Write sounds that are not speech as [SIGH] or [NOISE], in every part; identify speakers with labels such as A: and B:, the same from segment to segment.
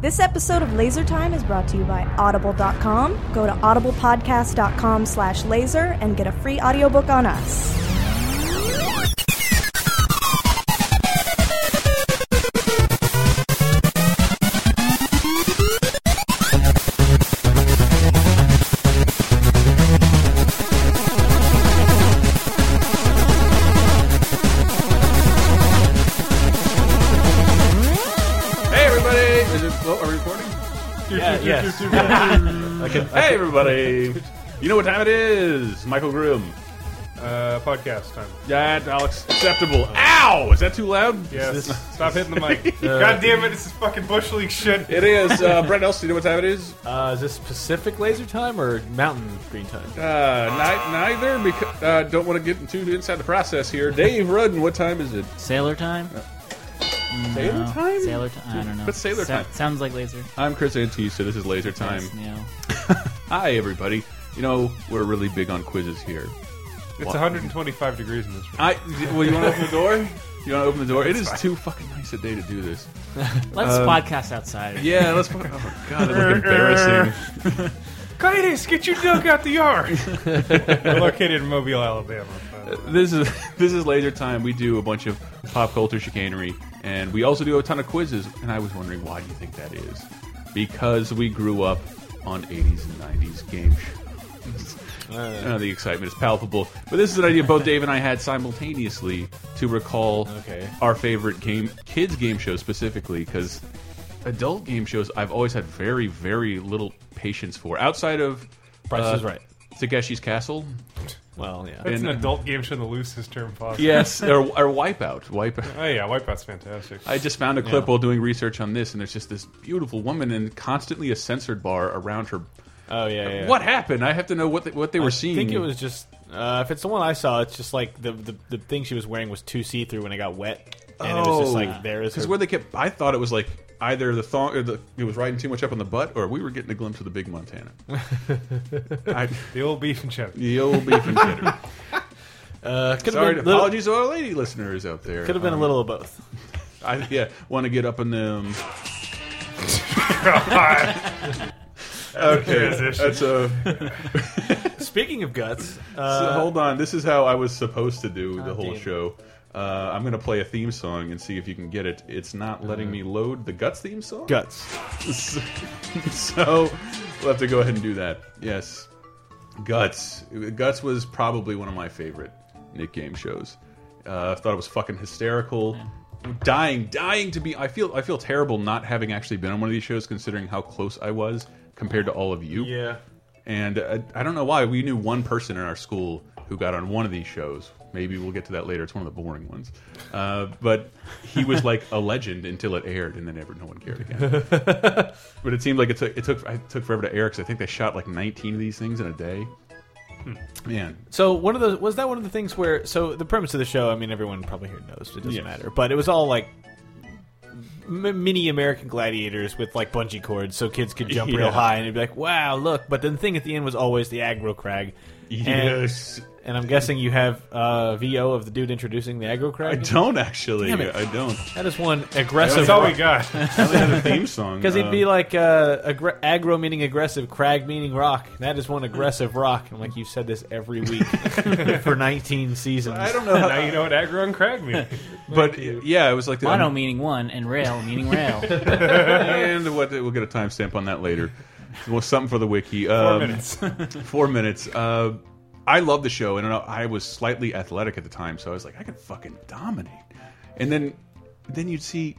A: This episode of Laser Time is brought to you by Audible.com. Go to audiblepodcast.com slash laser and get a free audiobook on us.
B: Hey everybody! Is it, oh, are we recording?
C: Yeah, yes.
B: hey everybody! You know what time it is? Michael Groom.
C: Uh, podcast time.
B: That all acceptable. Ow! Is Uh, that too loud?
C: Yes. [LAUGHS] Stop hitting
B: [LAUGHS]
C: the mic. God damn it, this is fucking Bush League shit.
B: It is. Uh, Brett Nelson, you know what time it is? Uh,
D: Uh, is this Pacific laser time or Mountain green time?
B: Uh, ni- neither. Because uh, don't want to get too inside the process here. Dave Rudden, what time is it?
E: Sailor time?
B: uh, Sailor
E: No.
B: time.
E: Sailor time? I don't know.
B: But sailor
E: Sa-
B: time.
E: Sounds like laser.
B: I'm Chris Antista. This is Laser Time.
E: Yes, Neil.
B: Hi everybody. You know we're really big on quizzes here.
C: It's 125 degrees in this room.
B: I well, you want to open the door? You want to open the door? It is too fucking nice a day to do this.
E: Let's podcast outside.
B: Uh, Yeah, let's. Oh my god, that looked
C: [LAUGHS]
B: embarrassing.
C: Cletus, get your dog out
B: [LAUGHS]
C: the yard. We're located in Mobile, Alabama. Uh,
B: This is [LAUGHS] this is laser time. We do a bunch of pop culture chicanery, and we also do a ton of quizzes. And I was wondering why do you think that is? Because we grew up on 80s and 90s game
D: [LAUGHS]
B: shows. Uh, the excitement is palpable. But this is an idea both Dave and I had simultaneously to recall
D: Okay.
B: our favorite game, kids game shows specifically, because adult game shows I've always had very, very little patience for. Outside of
D: Price
B: uh,
D: is Right.
B: Takeshi's Castle,
D: Well, yeah.
C: That's
B: and-
C: an adult game show in the loosest term possible.
B: yes, or, or Wipeout, Wipeout.
D: [LAUGHS]
C: Oh, yeah, Wipeout's fantastic.
B: I just found a clip
D: Yeah.
B: while doing research on this, and there's just this beautiful woman and constantly a censored bar around her.
D: Oh, yeah. yeah.
B: What happened? I have to know what they, what they were
D: I
B: seeing.
D: think it was just uh, if it's the one I saw, it's just like the the, the thing she was wearing was too see through when it got wet, and it was just
E: Oh.
D: like there is
B: because
D: her-
B: Oh. where they kept. I thought it was like either the thong, or the, it was riding too much up on the butt, or we were getting a glimpse of the big
D: [LAUGHS]
B: Montana. I,
C: the old beef and cheddar.
B: the old beef and
D: [LAUGHS]
B: cheddar.
D: uh, could
B: Sorry,
D: have
B: to-
D: been, little,
B: apologies to our lady listeners out there.
D: could have been a
B: Um,
D: little of both.
B: I, yeah, want to get up in them. okay,
C: Transition.
B: that's a
D: Speaking of guts,
B: So,
D: uh,
B: hold on. This is how I was supposed to do the whole
D: damn.
B: show. Uh, I'm going to play a theme song and see if you can get it. It's not letting me load the Guts theme song.
D: guts.
B: So, [LAUGHS] so we'll have to go ahead and do that. Yes. Guts. Guts was probably one of my favorite Nick game shows. Uh, I thought it was fucking hysterical. Dying, dying to be. I feel, I feel terrible not having actually been on one of these shows, considering how close I was compared to all of you.
D: Yeah.
B: And I, I don't know why we knew one person in our school who got on one of these shows. Maybe we'll get to that later. It's one of the boring ones. Uh, but he was like a legend until it aired, and then never no one cared again. but it seemed like it took it took it took forever to air because I think they shot like 19 of these things in a day. Man,
D: So one of those was that one of the things where so the premise of the show. I mean, everyone probably here knows it doesn't
B: Yes.
D: matter, but it was all like m- mini American gladiators with like bungee cords, so kids could jump
B: Yeah.
D: real high and it'd be like, "Wow, look!" But then the thing at the end was always the aggro crag. And-
B: Yes.
D: and, I'm guessing you have uh, VO of the dude introducing the aggro
B: I
D: crag.
B: don't actually.
D: Damn it.
B: I don't.
D: That is one
C: That's
D: aggressive.
B: [LAUGHS]
C: all we got.
B: I only had a theme song
D: Because he'd be
B: Um,
D: like uh, aggr- aggro meaning aggressive, crag meaning rock. That is one aggressive rock. I'm like, you've said this
B: [LAUGHS]
D: every week for 19 seasons.
B: I don't know, how,
C: [LAUGHS]
B: Um,
C: now you know what aggro and crag mean.
B: but yeah, it was like um, the,
E: Mono meaning one and rail
B: [LAUGHS]
E: meaning rail.
B: and what we'll get a timestamp on that later. Well, something for the wiki. Um,
C: Four minutes.
B: four minutes. Uh, I love the show, and I was slightly athletic at the time, so I was like, I could fucking dominate. And then, then you'd see,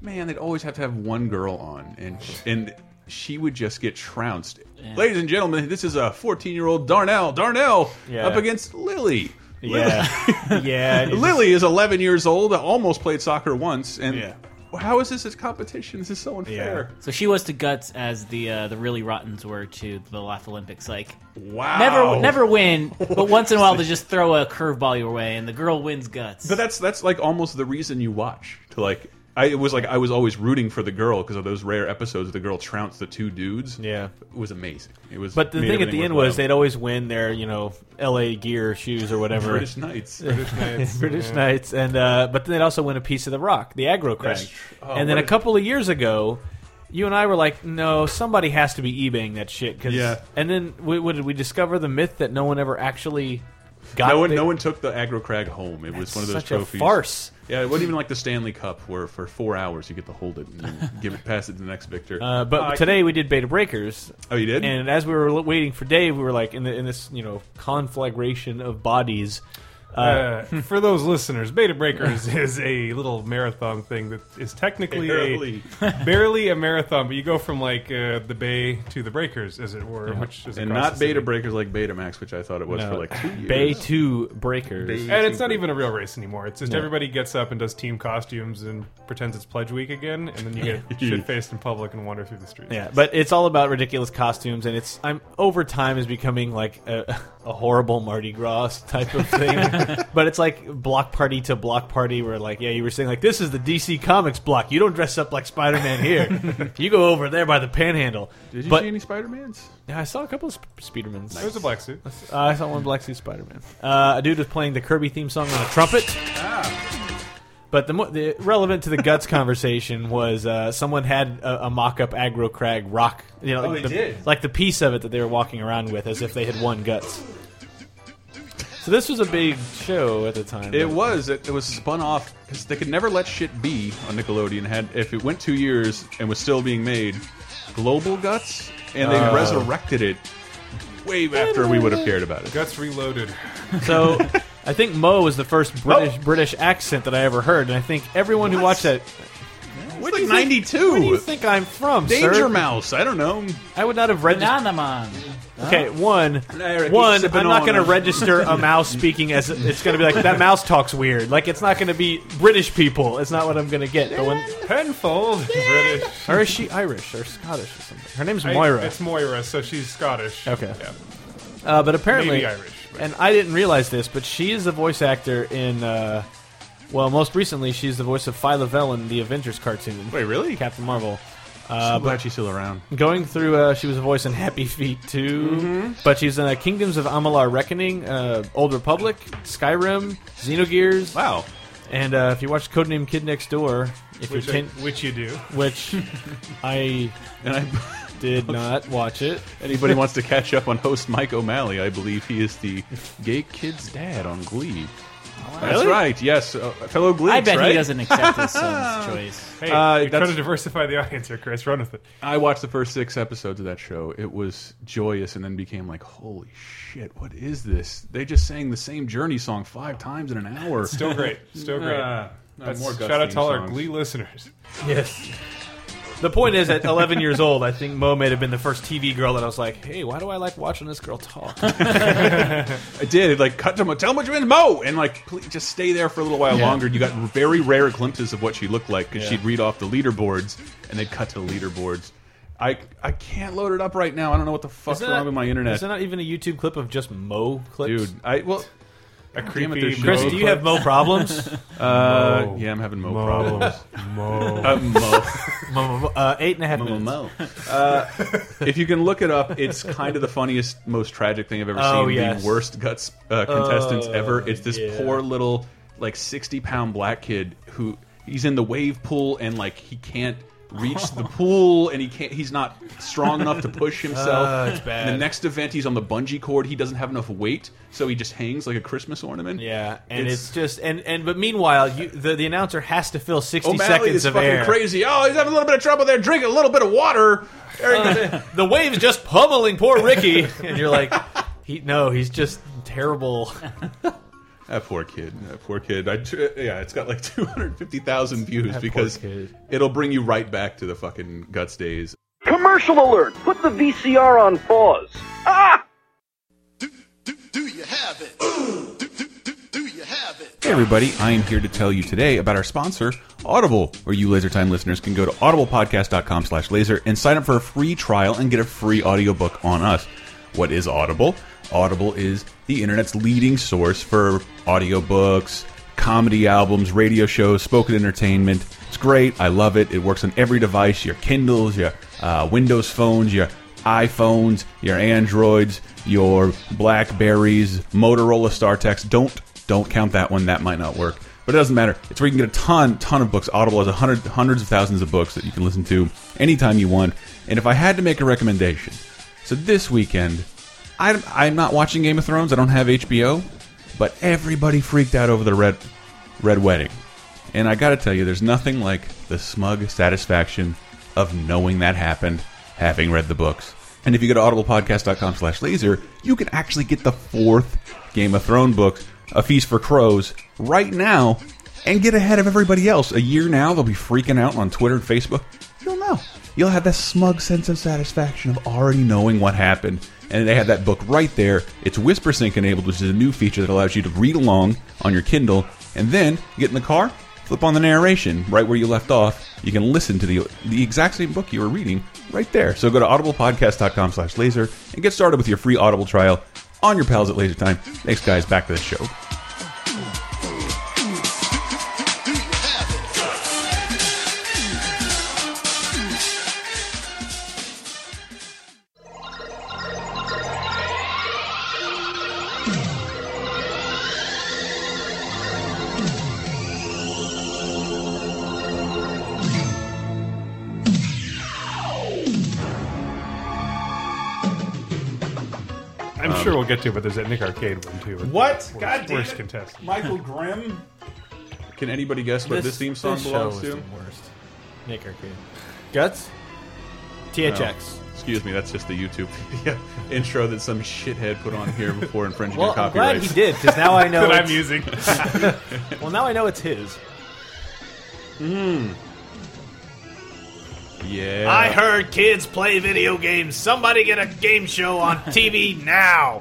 B: man, they'd always have to have one girl on, and and she would just get trounced. Ladies and gentlemen, this is a 14 year old Darnell, Darnell,
D: Yeah.
B: up against Lily.
D: Yeah, [LAUGHS] yeah. and you just-
B: Lily is 11 years old. Almost played soccer once, and
D: Yeah.
B: how is this a competition? This is so unfair.
E: so she was to guts as the uh, the really rottens were to the last Olympics. Like
B: Wow.
E: never never win, but once in a while to just throw a curveball your way, and the girl wins guts.
B: But that's that's like almost the reason you watch to like. I it was like I was always rooting for the girl because of those rare episodes the girl trounced the two dudes.
D: Yeah.
B: it was amazing. It was.
D: But the
B: made
D: thing at
B: everything
D: the end
B: worthwhile.
D: was they'd always win their you know L.A. gear shoes or whatever
B: British Knights.
D: [LAUGHS] British Knights, and uh, but then they'd also win a piece of the rock, the aggro crash.
B: tr- oh,
D: and then
B: what
D: a
B: a-
D: couple of years ago, you and I were like, no, somebody has to be eBaying that shit. 'cause-
B: Yeah.
D: And then we, what did we discover the myth that no one ever actually got?
B: No one,
D: the-
B: no one took the aggro crag home. It was
D: That's
B: one of those
D: such a
B: trophies.
D: farce.
B: Yeah, it wasn't even like the Stanley Cup, where for four hours you get to hold it and then give it, pass it to the next victor.
D: Uh, but
B: Oh, I-
D: today we did beta breakers.
B: Oh, you did?
D: And as we were l- waiting for Dave, we were like in the in this you know conflagration of bodies.
C: Uh, [LAUGHS] for those listeners, Beta Breakers
D: [LAUGHS]
C: is a little marathon thing that is technically
B: Barely.
C: A, [LAUGHS] barely a marathon, but you go from like uh, the bay to the breakers, as it were, which is
B: and
C: across
B: not
C: the
B: beta
C: city.
B: breakers like Betamax, which I thought it was
D: No.
B: for like two years.
D: Bay two breakers.
B: Bay-
C: And it's not even a real race anymore. It's just everybody gets up and does team costumes and pretends it's Pledge Week again, and then you
B: [LAUGHS]
C: get shit faced in public and wander through the streets.
D: Yeah, but it's all about ridiculous costumes, and it's I'm over time is becoming like a, a horrible Mardi Gras type
B: [LAUGHS]
D: of thing. but it's like block party to block party, where like yeah, you were saying like this is the DC Comics block. You don't dress up like Spider Man here.
B: [LAUGHS]
D: you go over there by the Panhandle.
B: Did you
D: but
B: see any Spider Mans?
D: yeah, I saw a couple of Sp- Speedermans.
C: There's a black suit.
D: Uh, I saw one Black Sea Spider Man. Uh, a dude was playing the Kirby theme song on a trumpet.
B: Ah.
D: But the, mo- the relevant to
B: [LAUGHS]
D: the guts conversation was uh, someone had a, a mock-up aggro crag rock, you know,
B: Oh, they
D: the-
B: did.
D: like the piece of it that they were walking around with, as if they had won guts. So this was a big show at the time.
B: It was. It, it was spun off because they could never let shit be on Nickelodeon. Had if it went two years and was still being made, Global Guts, and they
D: Uh.
B: resurrected it way after we would have cared about it.
C: Guts Reloaded.
D: So I think Mo was the
B: Oh.
D: first British British accent that I ever heard, and I think everyone who watched that.
B: It's like
D: Where do you
B: '92.
D: think I'm from,
B: Danger
D: sir?
B: Mouse. I don't know.
D: I would not have read.
E: Bananamon.
D: Okay, one,
B: Eric, he's
D: one.
B: sipping
D: I'm not
B: on
D: going to
B: a-
D: register a mouse speaking as it's going to be like that mouse talks weird. Like it's not going to be British people. It's not what I'm going to get. But when,
C: Penfold. British.
D: or is she Irish or Scottish or something? Her name's
C: I-
D: Moira.
C: it's Moira, so she's Scottish.
D: Okay.
C: Yeah.
D: Uh, but apparently,
C: Maybe Irish, but-
D: and I didn't realize this, but she is the voice actor in. Uh, well, most recently, she's the voice of Phyla Vell in the Avengers cartoon.
B: Wait, really?
D: Captain Marvel.
B: I'm glad she's still around.
D: Going through, uh, she was a voice in Happy Feet too,
B: Mm-hmm.
D: but she's in uh, Kingdoms of Amalar Reckoning, uh, Old Republic, Skyrim, Xenogears.
B: Wow.
D: And uh, if you watch Codename Kid Next Door, if
C: Which, I-
D: you're ten,
C: which you do.
B: [LAUGHS]
D: which I
B: And I, [LAUGHS]
D: did not watch it.
B: anybody wants to catch up on host Mike O'Malley, I believe he is the gay kid's dad on Glee. That's
D: Really?
B: right. Yes, uh, fellow Glee.
E: I bet
B: right?
E: he doesn't accept
B: [LAUGHS]
E: his son's choice.
C: Hey,
B: Uh,
C: you're trying
B: that's-
C: to diversify the audience here, Chris. Run with it.
B: I watched the first six episodes of that show. It was joyous, and then became like, "Holy shit! What is this? They just sang the same Journey song five times in an hour."
C: Still great. [LAUGHS] Still great.
B: Ah, no,
C: That's-
B: more Gus
C: shout out
B: theme
C: to all our
B: songs.
C: Glee listeners.
D: Yes. The point is, at 11 years old, I think Mo may have been the first TV girl that I was like, "Hey, why do I like watching this girl talk?"
B: I did. It, Like, cut to Mo. Tell him what you're in, Mo, and like, please just stay there for a little while longer. You got very rare glimpses of what she looked like because she'd read off the leaderboards, and they'd cut to the leaderboards. I I can't load it up right now. I don't know what the fuck's
D: Isn't
B: wrong
D: that-
B: with my internet,
D: Is there not even a YouTube clip of just Mo clips?
B: dude. I well,
C: A
B: damn it,
C: creepy
B: there's
D: Chris,
B: Mo
D: do you have Mo
B: [LAUGHS]
D: problems?
B: uh,
D: Oh,
C: Mo.
B: yeah, I'm having Mo,
C: Mo.
D: [LAUGHS]
B: problems.
C: Mo.
B: Uh, Mo.
D: uh, eight and a half minutes.
B: Uh, if you can look it up, it's kind of the funniest, most tragic thing I've ever
D: Oh,
B: seen.
D: yes. Oh,
B: The worst guts uh, contestants ever. It's this
D: yeah.
B: poor little, like sixty pound black kid who he's in the wave pool and like he can't reach
D: [LAUGHS]
B: the pool and he can't. He's not strong enough to push himself.
D: Oh, it's bad.
B: The next event, he's on the bungee cord. He doesn't have enough weight, so he just hangs like a Christmas ornament.
D: Yeah, and
B: It's-
D: it's, just and and but meanwhile, you the, the announcer has to fill sixty
B: O'Malley
D: seconds
B: is
D: of
B: fucking
D: air.
B: crazy. Oh, he's having a little bit of trouble there. Drink a little bit of water.
D: The wave's just pummeling poor Ricky, and you're like, [LAUGHS] he no, he's just terrible.
B: That poor kid. That poor kid. I, yeah, it's got like [LAUGHS] 250,000 views
D: That poor
B: because
D: kid.
B: it'll bring you right back to the fucking guts days.
F: Commercial alert! Put the VCR on pause. Ah!
G: Do, do, do you have it? Do, do, do, do you have it?
B: Hey, everybody. I am here to tell you today about our sponsor, Audible, where you Laser Time listeners can go to audiblepodcast.com slash laser and sign up for a free trial and get a free audiobook on us. What is Audible? Audible is the internet's leading source for audiobooks, comedy albums, radio shows, spoken entertainment. It's great. I love it. It works on every device your Kindles, your uh, Windows phones, your iPhones, your Androids, your Blackberries, Motorola StarTex. Don't don't count that one. That might not work. But it doesn't matter. It's where you can get a ton, ton of books. Audible has a hundred, hundreds of thousands of books that you can listen to anytime you want. And if I had to make a recommendation, so this weekend, I'm, I'm not watching Game of Thrones. I don't have HBO, but everybody freaked out over the red, red wedding. And I got to tell you, there's nothing like the smug satisfaction of knowing that happened, having read the books. And if you go to audiblepodcast.com slash laser, you can actually get the fourth Game of Thrones book, A Feast for Crows, right now and get ahead of everybody else. A year now, they'll be freaking out on Twitter and Facebook. You'll know. You'll have that smug sense of satisfaction of already knowing what happened. And they have that book right there. It's Whisper Sync enabled, which is a new feature that allows you to read along on your Kindle. And then get in the car, flip on the narration right where you left off. You can listen to the, the exact same book you were reading right there. So go to audiblepodcast.com slash laser and get started with your free Audible trial on your pals at Laser Time. Thanks, guys. Back to the show.
G: Do you have it?
C: I'm sure we'll get to it, but there's that Nick Arcade one too.
B: What?
C: Worst,
B: God damn
C: worst
B: it.
C: contestant.
B: Michael Grimm. Can anybody guess what this, theme song
D: this
B: belongs
D: show is
B: to?
D: the worst. Nick Arcade. Guts? THX.
B: Excuse me, that's just the YouTube [LAUGHS] yeah, intro that some shithead put on here before infringing
D: Well,
B: your
D: I'm
B: copyright.
D: glad he did, because now I know.
C: That I'm
D: it's-
C: using.
D: well, now I know it's his.
B: Yeah.
D: heard kids play video games. Somebody get a game show on TV now.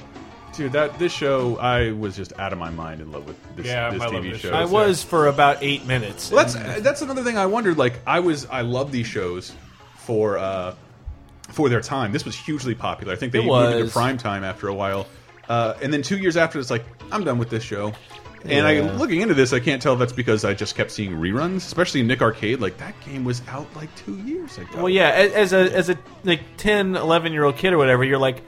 B: Dude, that this show, I was just out of my mind in love with this,
C: Yeah,
B: this
C: I love
B: TV
C: this
B: show.
C: show.
D: I was for about eight minutes.
B: Well, that's uh, that's another thing I wondered. Like, I was I love these shows for uh, for their time. This was hugely popular. I think they
D: It
B: moved into
D: was.
B: prime time after a while, uh, and then two years after, it's like I'm done with this show. And I
D: Yeah.
B: looking into this, I can't tell if that's because I just kept seeing reruns, especially Nick Arcade. Like that game was out like two years ago.
D: Well, yeah, a- as a as a like 10, 11 year old kid or whatever, you're like,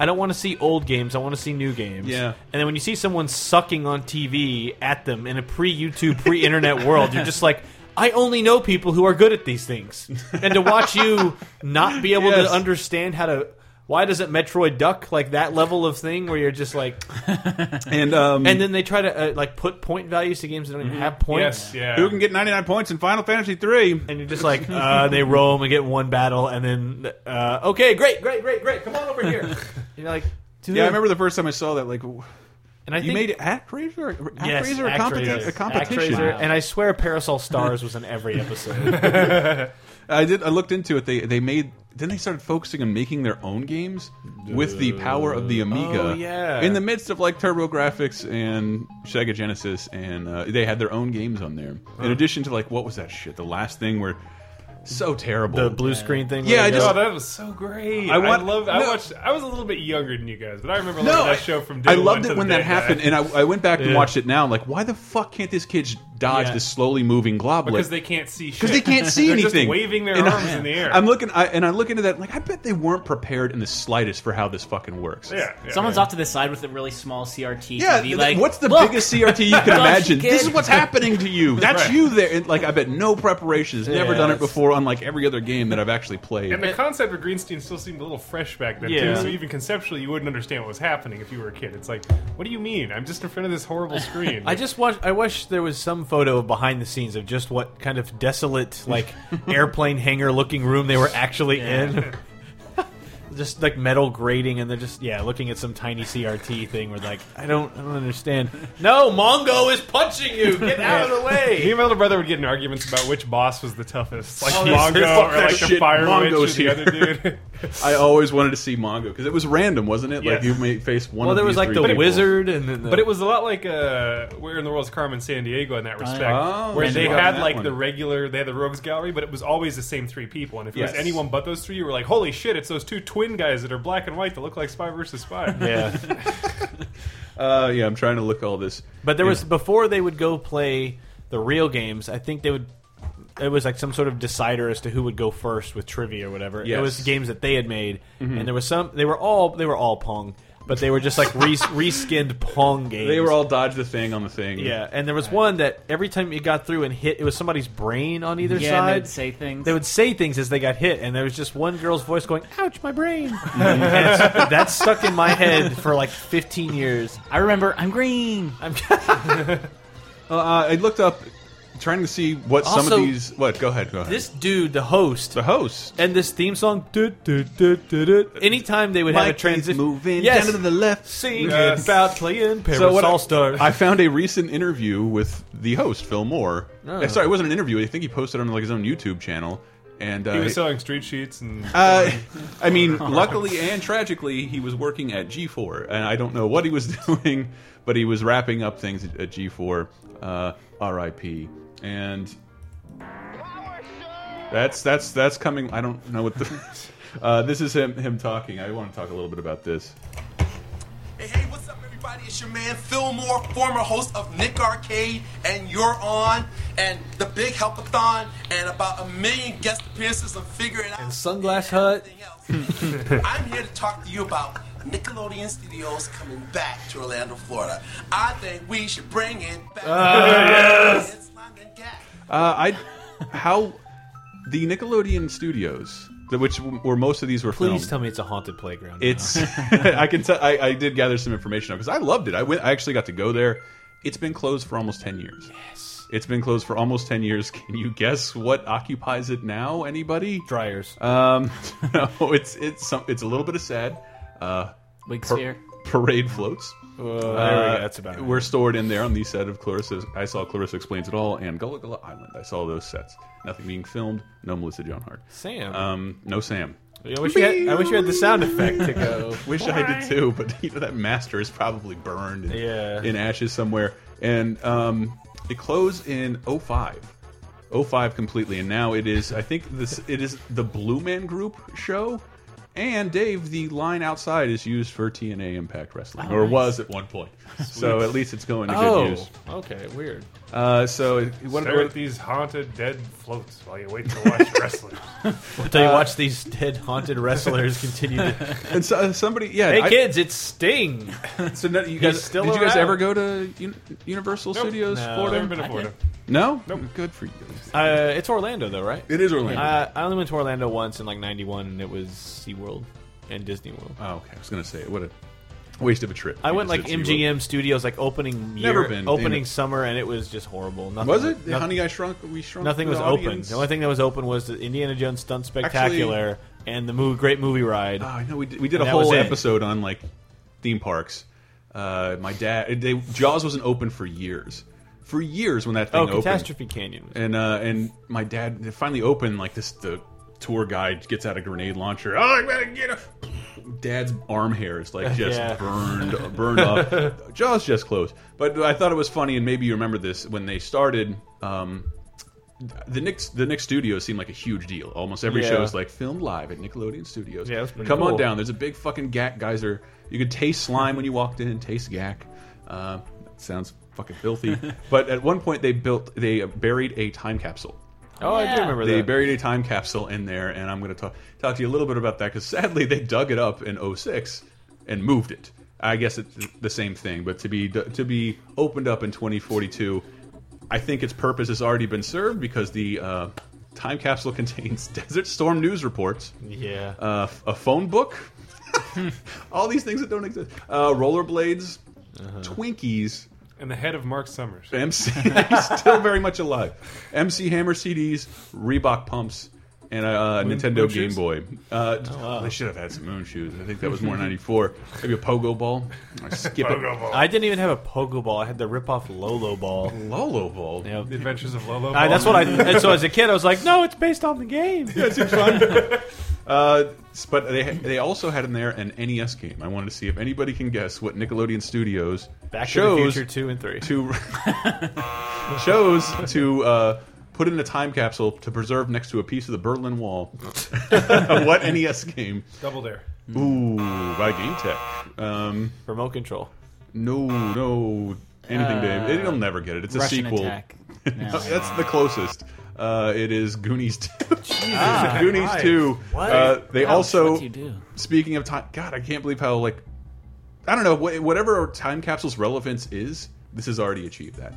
D: I don't want to see old games. I want to see new games.
B: Yeah.
D: And then when you see someone sucking on TV at them in a pre YouTube, pre internet [LAUGHS] world, you're just like, I only know people who are good at these things. And to watch you not be able
B: Yes.
D: to understand how to. Why doesn't Metroid duck like that level of thing where you're just like,
B: and um,
D: and then they try to uh, like put point values to games that
B: Mm-hmm.
D: don't even have points.
C: Yes, yeah.
B: who can get 99 points in Final Fantasy three?
D: And you're just like, uh, they roam and get one battle, and then, uh, okay, great, great, great, great, come on over here.
B: [LAUGHS]
D: And you're like, dude.
B: Yeah, I remember the first time I saw that. Like,
D: And I
B: you made
D: think,
B: ActRaiser, ActRaiser
D: yes,
B: a,
D: Actraiser.
B: competi- a competition.
D: Actraiser, and I
B: [LAUGHS]
D: swear Parasol Stars was in every episode.
B: I did. I looked into it. They they made. Then they started focusing on making their own games with the power of the Amiga.
D: Oh, yeah.
B: In the midst of like TurboGrafx and Sega Genesis, and uh, they had their own games on there. In addition to like what was that shit? The last thing where so terrible.
D: the blue screen thing.
B: Yeah,
D: where
B: I
D: they
B: just-
C: Oh,
D: go-
C: that was so great.
B: I
C: I,
B: want-
C: love. I
B: no.
C: watched. I was a little bit younger than you guys, but I remember
B: no,
C: loving
B: I,
C: that show from.
B: I
C: Doodle
B: loved
C: One
B: it
C: to
B: when
C: the
B: that
C: Dead
B: happened,
C: Guy.
B: and I, I went back and
D: Yeah.
B: watched it now. Like, why the fuck can't this kid j- dodge
D: Yeah.
B: this slowly moving globlet?
C: because they can't see shit.
B: because they
C: [LAUGHS]
B: can't see
C: They're
B: anything.
C: Just waving their
B: And
C: arms
B: I,
C: in the air.
B: I'm looking, I, and I look into that. Like, I bet they weren't prepared in the slightest for how this fucking works.
C: yeah, yeah.
E: Someone's off to the side with a really small CRT
B: Yeah,
E: TV.
B: th-
E: Like,
B: what's the
E: "Look,
B: biggest
E: [LAUGHS]
B: CRT
D: [LAUGHS]
B: you can imagine?
E: kid.
B: This is what's happening to
C: [LAUGHS]
B: you. That's
C: Right.
B: you there. And, like, I bet no preparation has never
D: Yeah,
B: done it
D: it's-
B: before, unlike every other game that I've actually played.
C: And the concept of Greenstein still seemed a little fresh back then
D: Yeah.
C: too. So even conceptually, you wouldn't understand what was happening if you were a kid. It's like, what do you mean? I'm just in front of this horrible screen.
D: I just watch. I wish there was some photo of behind the scenes of just what kind of desolate, [LAUGHS] like airplane hangar looking room they were actually in. [LAUGHS] just like metal grating, and they're just yeah, looking at some tiny CRT thing. Where like, I don't, I don't understand. No, Mongo is punching you. Get out of the
C: Me
D: way.
C: and my little brother would get in arguments about which boss was the toughest, like
B: Oh, yes.
C: Mongo
B: Fuck
C: or
B: that
C: like the
B: shit.
C: Fire Witch
B: Mongo's
C: or the
B: here.
C: other dude.
B: [LAUGHS] I always wanted to see Mongo because it was random, wasn't it? Like
C: Yes.
B: you may face one.
D: Well,
B: of
D: there was
B: these
D: like
B: three
D: the
B: people.
D: wizard, and then the,
C: But it was a lot like uh, Where in the World's Carmen San Diego in that respect,
B: Oh,
C: where
B: Randy
C: they
B: Orton,
C: had
B: that
C: like
B: one.
C: the regular, they had the Rogues Gallery, but it was always the same three people. And if it
B: Yes.
C: was anyone but those three, you were like, "Holy shit! It's those two twin guys that are black and white that look like Spy versus Spy."
D: yeah. [LAUGHS]
B: Uh, yeah, I'm trying to look all this.
D: But there was before they would go play the real games. I think they would. It was like some sort of decider as to who would go first with trivia or whatever. It was
B: Yes.
D: games that they had made, and there was some. They were all they were all Pong. but they were just like re- reskinned Pong games.
B: They were all dodge the thing on the thing.
D: yeah, and there was one that every time you got through and hit, it was somebody's brain on either
E: Yeah, and
D: side.
E: they'd say things.
D: They would say things as they got hit, and there was just one girl's voice going, "Ouch, my brain." And it's- that stuck in my head for like 15 years.
E: I remember. I'm green.
D: I'm,
B: Uh, I looked up, trying to see what some
D: Also-
B: of these. What? Go ahead. Go ahead.
D: this dude, the host,
B: the host.
D: and this theme song. "Du- du- du- du- du," Anytime they would have a
B: Mike is
D: transition,
B: moving
D: yes,
B: down to the left.
D: singing
C: Yes.
D: about playing Paris
B: So what I-
D: All Stars.
B: I found a recent interview with the host Phil Moore.
D: Oh.
B: Uh, Sorry, it wasn't an interview. I think he posted it on like his own YouTube channel. And uh,
C: He was selling street sheets and
B: Uh, [LAUGHS] I mean, luckily and tragically, he was working at G4, and I don't know what he was [LAUGHS] doing, but he was wrapping up things at, at G4. Uh, R.I.P. And that's that's that's coming. I don't know what the. [LAUGHS] Uh, this is him him talking. I want to talk a little bit about this.
H: Hey, hey, what's up, everybody? It's your man Phil Moore, former host of Nick Arcade, and you're on, and the Big Helpathon, and about a million guest appearances on Figuring Out.
D: And Sunglass Hut.
H: everything else. I'm here to talk to you about Nickelodeon Studios coming back to Orlando, Florida. I think we should bring it back. It's London Gag.
B: Uh, I how the Nickelodeon studios, the- which where most of these were
D: Please
B: filmed.
D: tell me it's a haunted playground. [LAUGHS]
B: It's [LAUGHS] I can tell I, I did gather some information because I loved it. I went I actually got to go there. It's been closed for almost ten years. Yes. It's been closed for almost ten years. Can you guess what occupies it now? Anybody?
D: dryers.
B: Um [LAUGHS] no, it's it's some it's a little bit of sad. Uh
E: Big
B: par-
E: sphere.
B: parade floats.
D: Oh, there we
B: Uh,
D: go. That's about it.
B: We're stored in there on the set of Clarissa. I saw Clarissa Explains It All and Gullah Gullah Island. I saw those sets. Nothing being filmed. No Melissa Joan Hart.
D: Sam.
B: Um, no Sam.
D: I, wish you had, I wish you had the sound effect to
B: [LAUGHS]
D: go.
B: Wish I did too, but [LAUGHS] you know that master is probably burned in,
D: Yeah.
B: in ashes somewhere. And um, it closed in 05. 05 completely, and now it is. I think this it is the Blue Man Group show. And Dave, the line outside is used for TNA Impact Wrestling, or was at one point. So at least it's going to
D: Oh.
B: good use.
D: okay, weird.
B: Uh, so it- what,
C: stare at these haunted dead floats while you wait to
B: [LAUGHS]
C: watch wrestling.
D: Until
B: Uh,
D: you watch these dead haunted wrestlers
B: [LAUGHS]
D: continue to.
B: and so, uh, somebody, yeah.
D: Hey
B: I-
D: kids, it's Sting.
B: so no, you guys,
D: still
B: did you guys
D: around.
B: ever go to Un Universal Studios,
D: No.
B: Florida?
C: Never been to Florida.
B: No, good for you.
D: Uh, it's Orlando though, right?
B: It is Orlando.
D: Uh, I only went to Orlando once in like '91, and it was SeaWorld and Disney World.
B: Oh, okay. I was gonna say what a waste of a trip.
D: I
B: You
D: went
B: just
D: like
B: said SeaWorld.
D: MGM Studios, like opening year,
B: Never been, damn
D: opening
B: it.
D: summer, and it was just horrible. Nothing
B: Was it?
D: nothing-
B: Honey, I shrunk. We shrunk.
D: Nothing
B: the
D: was open.
B: audience?
D: The only thing that was open was the Indiana Jones Stunt Spectacular and the movie, Great Movie Ride.
B: Oh, I know. We did, we did a
D: And that was
B: whole
D: it.
B: episode on like theme parks. Uh, my dad. They, Jaws wasn't open for years. For years when that thing
D: oh,
B: opened.
D: Catastrophe Canyon.
B: And uh, and my dad they finally opened like this. The tour guide gets out a grenade launcher. Oh, I gotta get a. Dad's arm hair is
D: [LAUGHS]
B: like just
D: Yeah. [LAUGHS]
B: burned, burned off. Jaws just closed, but I thought it was funny, and maybe you remember this when they started. Um, the Nick the Nick Studios seemed like a huge deal. Almost every
D: Yeah.
B: show is like filmed live at Nickelodeon Studios.
D: Yeah, that's pretty
B: come on
D: cool.
B: down. There's a big fucking gack geyser. You could taste slime when you walked in. Taste gack. Uh, that sounds fucking
D: [LAUGHS]
B: filthy. but at one point they built they buried a time capsule.
D: Oh, I
E: Yeah.
D: do remember
B: They
D: that.
B: buried a time capsule in there, and I'm going to talk talk to you a little bit about that because sadly they dug it up in 06 and moved it. I guess it's the same thing, but to be to be opened up in 2042, I think its purpose has already been served because the uh, time capsule [LAUGHS] contains Desert Storm news reports,
D: yeah.
B: uh, a phone book, [LAUGHS] all these things that don't exist, uh, rollerblades, Twinkies.
C: And the head of Mark Summers.
B: MC, he's [LAUGHS] still very much alive. MC Hammer CDs, Reebok pumps, and a uh, Nintendo Game
C: moon shoes?
B: Boy. Uh, They should have had some moon shoes. I think that was more '94. Maybe a pogo ball. I skip
C: Pogo
B: it.
C: Ball.
D: I didn't even have a pogo ball. I had the rip-off Lolo
B: [LAUGHS]
D: ball.
B: Lolo ball.
D: Yep.
C: the Adventures of Lolo.
D: I,
C: Ball.
D: that's what I. And so as a kid, I was like, "No, it's based on the game."
B: Uh, s- but they they also had in there an NES game. I wanted to see if anybody can guess what Nickelodeon Studios
D: Back to the
B: shows
D: Future two and three.
B: to [LAUGHS] shows to uh, put in a time capsule to preserve next to a piece of the Berlin Wall. [LAUGHS] what NES game?
C: Double Dare.
B: Ooh, by Game Tech. Um,
D: Remote control.
B: no, no, anything, Dave. It'll never get it. It's a
E: Russian
B: sequel. [LAUGHS]
E: attack. No.
B: That's the closest. Uh, it is Goonies
D: [LAUGHS]
B: 2. Goonies 2.
D: What?
B: Uh, they
E: Ouch,
B: also,
E: what do you do?
B: speaking of time, God, I can't believe how like I don't know wh whatever time capsule's relevance is. This has already achieved that.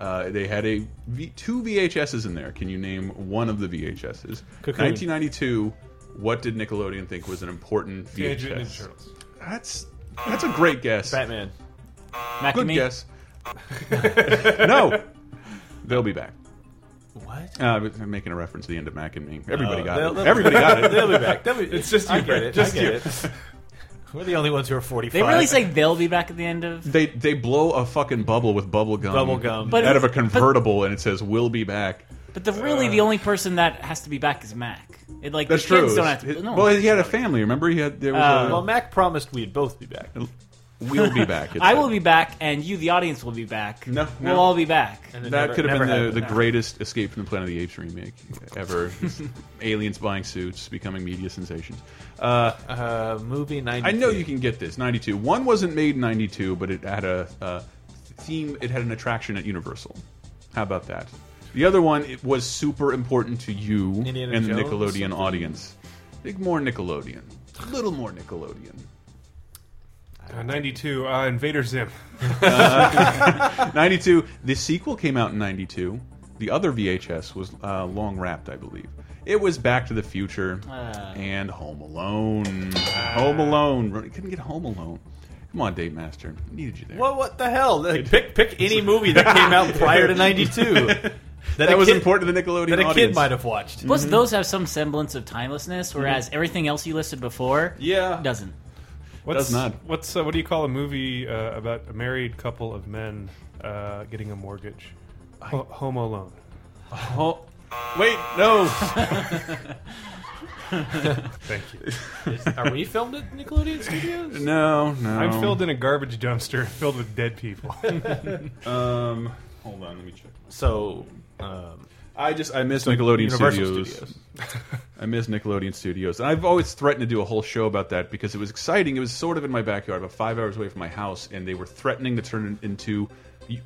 B: Uh, they had a v two VHSs in there. Can you name one of the VHSs?
D: Cocoon.
B: 1992. What did Nickelodeon think was an important
C: Teenage Mutant Ninja
B: VHS?
C: Turtles.
B: That's that's a great guess.
D: Batman.
E: Mac
B: Good
E: and me.
B: guess.
D: [LAUGHS]
B: no, they'll be back.
D: What?
B: Uh, I'm making a reference to the end of Mac and Me. Everybody got
D: Uh, they'll-
B: it.
D: they'll-
B: Everybody got it.
D: [LAUGHS] They'll be back. They'll be,
C: It's just
D: I
C: you,
D: get
C: Brett.
D: it.
C: Just
D: I get it. [LAUGHS] We're the only ones who are 45.
E: They really say they'll be back at the end of.
B: They they blow a fucking bubble with bubble gum,
D: Bubble gum.
E: But
B: out of
E: who-
B: a convertible, and it says "We'll be back."
E: But the really the only person that has to be back is Mac. It, like
B: Uh. That's
E: the
B: true.
E: kids don't have to.
B: His-
E: No, Uh,
B: well, he had a family. Remember, he had there was
D: Uh, Well, Mac promised we'd both be back.
B: a "We'll be back." it
E: [LAUGHS] I
B: said.
E: will be back, and you, the audience, will be back.
B: No,
E: we'll
B: no.
E: all be back.
B: That
D: Never-
B: could have been
D: never
B: the, the
D: happened.
B: greatest Escape from the Planet of the Apes remake
D: [LAUGHS]
B: ever. Aliens buying suits, becoming media sensations. Uh,
D: Uh, movie 90.
B: I know you can get this. 92. One wasn't made in 92, but it had a, uh theme, it had an attraction at Universal. How about that? The other one it was super important to you
D: Indiana
B: and the
D: Jones,
B: Nickelodeon
D: something?
B: audience. Think more Nickelodeon. A little more Nickelodeon.
C: Uh, 92, uh, Invader Zim.
B: 92. The sequel came out in 92. The other VHS was uh, Long Wrapped, I believe. It was Back to the Future
D: Ah.
B: and Home Alone. Home Alone. Couldn't get Home Alone. Come on, Dave Master. I needed you there.
D: Well, what the hell? Pick pick any movie that came out prior to [LAUGHS] 92. That,
B: that
D: a
B: was
D: kid-
B: important to the Nickelodeon
D: That a
B: audience.
D: kid might have watched.
E: Plus,
B: Mm-hmm.
E: those have some semblance of timelessness, whereas everything else you listed before,
B: Yeah.
E: doesn't.
C: What's,
B: Does not.
C: What's uh, what do you call a movie uh, about a married couple of men uh, getting a mortgage? Ho- Home Alone.
B: Oh, wait, no.
C: Thank you.
D: Are we filmed at Nickelodeon Studios?
B: no, no.
C: I'm filled in a garbage dumpster [LAUGHS] filled with
B: [LAUGHS]
C: dead people.
B: Um, hold on, let me check.
D: So, um,
B: I just I miss Nickelodeon
D: Universal
B: Studios.
D: Studios.
B: I miss Nickelodeon Studios, and I've always threatened to do a whole show about that because it was exciting. It was sort of in my backyard, about five hours away from my house, and they were threatening to turn it into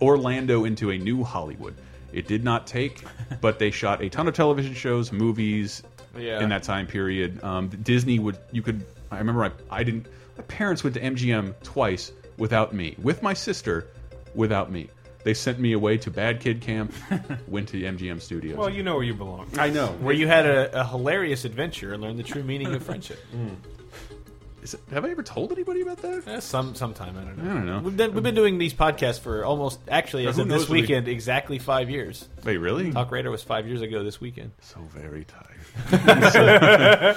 B: Orlando into a new Hollywood. It did not take,
D: [LAUGHS]
B: but they shot a ton of television shows, movies
D: Yeah.
B: in that time period. Um, Disney would you could I remember I, I didn't my parents went to MGM twice without me, with my sister, without me. They sent me away to bad kid camp,
D: [LAUGHS]
B: went to MGM Studios.
C: well, you know where you belong.
B: I know.
D: where you had a, a hilarious adventure and learned the true meaning of friendship.
B: Is it- have I ever told anybody about
D: [LAUGHS]
B: that?
D: Eh, Some sometime I don't know.
B: I don't know.
D: We've been, we've been doing these podcasts for almost actually as
B: Who
D: of this
B: knows what we-
D: weekend exactly five years.
B: Wait, really?
D: Talk Radar was five years ago this weekend.
B: So very tired.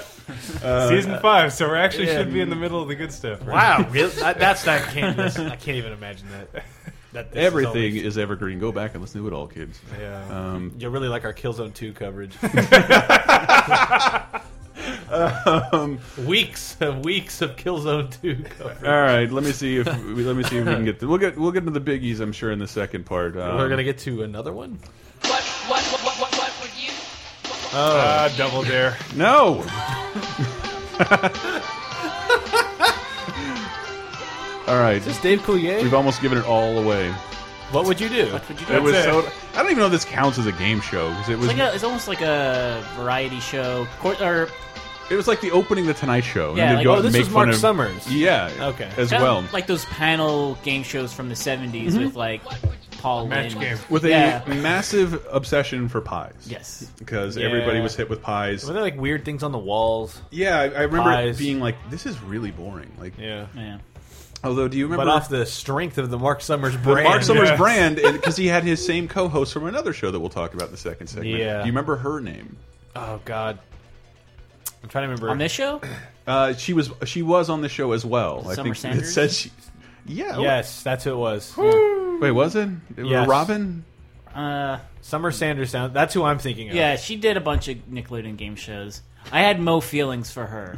C: Uh, Season five, so we actually
D: yeah.
C: should be in the middle of the good stuff. Right?
D: [LAUGHS] Wow, really? that, that's not can't. I can't even imagine that. that this is
B: Everything
D: always-
B: is evergreen. Go back and listen to it all, kids.
C: Yeah.
B: Um,
D: You'll really like our Killzone Two [LAUGHS] coverage. Um, weeks of weeks of Killzone Two coverage.
B: all right, let me see if we- let me see if we can get. We'll get we'll get into the biggies, I'm sure, in the second part. Um,
D: We're gonna get to another one.
I: What, what, what, what, what, what would you?
C: Ah, double dare.
B: no. all right,
D: Is this Dave Coulier?
B: we've almost given it all away.
D: What would you do?
E: What would you do?
B: It was
C: it.
B: so. I don't even know if this counts as a game show because it was
E: It's like a, it's almost like a variety show, cor- or
B: it was like the opening of the Tonight Show.
E: Yeah,
B: and they'd
E: like-
B: go
E: Oh,
B: out and
D: this
B: make
D: was Mark
B: fun of-
D: Summers.
B: Yeah.
D: Okay.
B: As
E: kind of
B: well. Mm-hmm.
E: like those panel game shows from the '70s with like Paul
C: Match
E: Lynn.
C: game.
B: with a Mm-hmm.
E: Yeah.
B: massive obsession for pies.
E: Yes.
B: because
D: Yeah.
B: everybody was hit with pies.
D: Were there like weird things on the walls?
B: Yeah, I, I remember it
D: Pies.
B: being like, "This is really boring." Like,
D: Yeah.
E: Yeah.
B: although, do you remember
D: But off the strength of the Mark Summers
B: the
D: brand.
B: Mark Summers
C: Yes.
B: brand because he had his same co-host from another show that we'll talk about in the second segment.
D: Yeah.
B: do you remember her name?
D: Oh God. I'm trying to remember.
E: On this show,
B: Uh, she was she was on the show as well. I
E: Summer
B: think it
E: Sanders?
B: says she. Yeah. Oh,
D: yes, that's who it was.
B: Wait, was it? It was
D: Yes.
B: Robin?
E: uh,
D: Summer Sanders sound. That's who I'm thinking of.
E: yeah, she did a bunch of Nickelodeon game shows. I had mo feelings for her.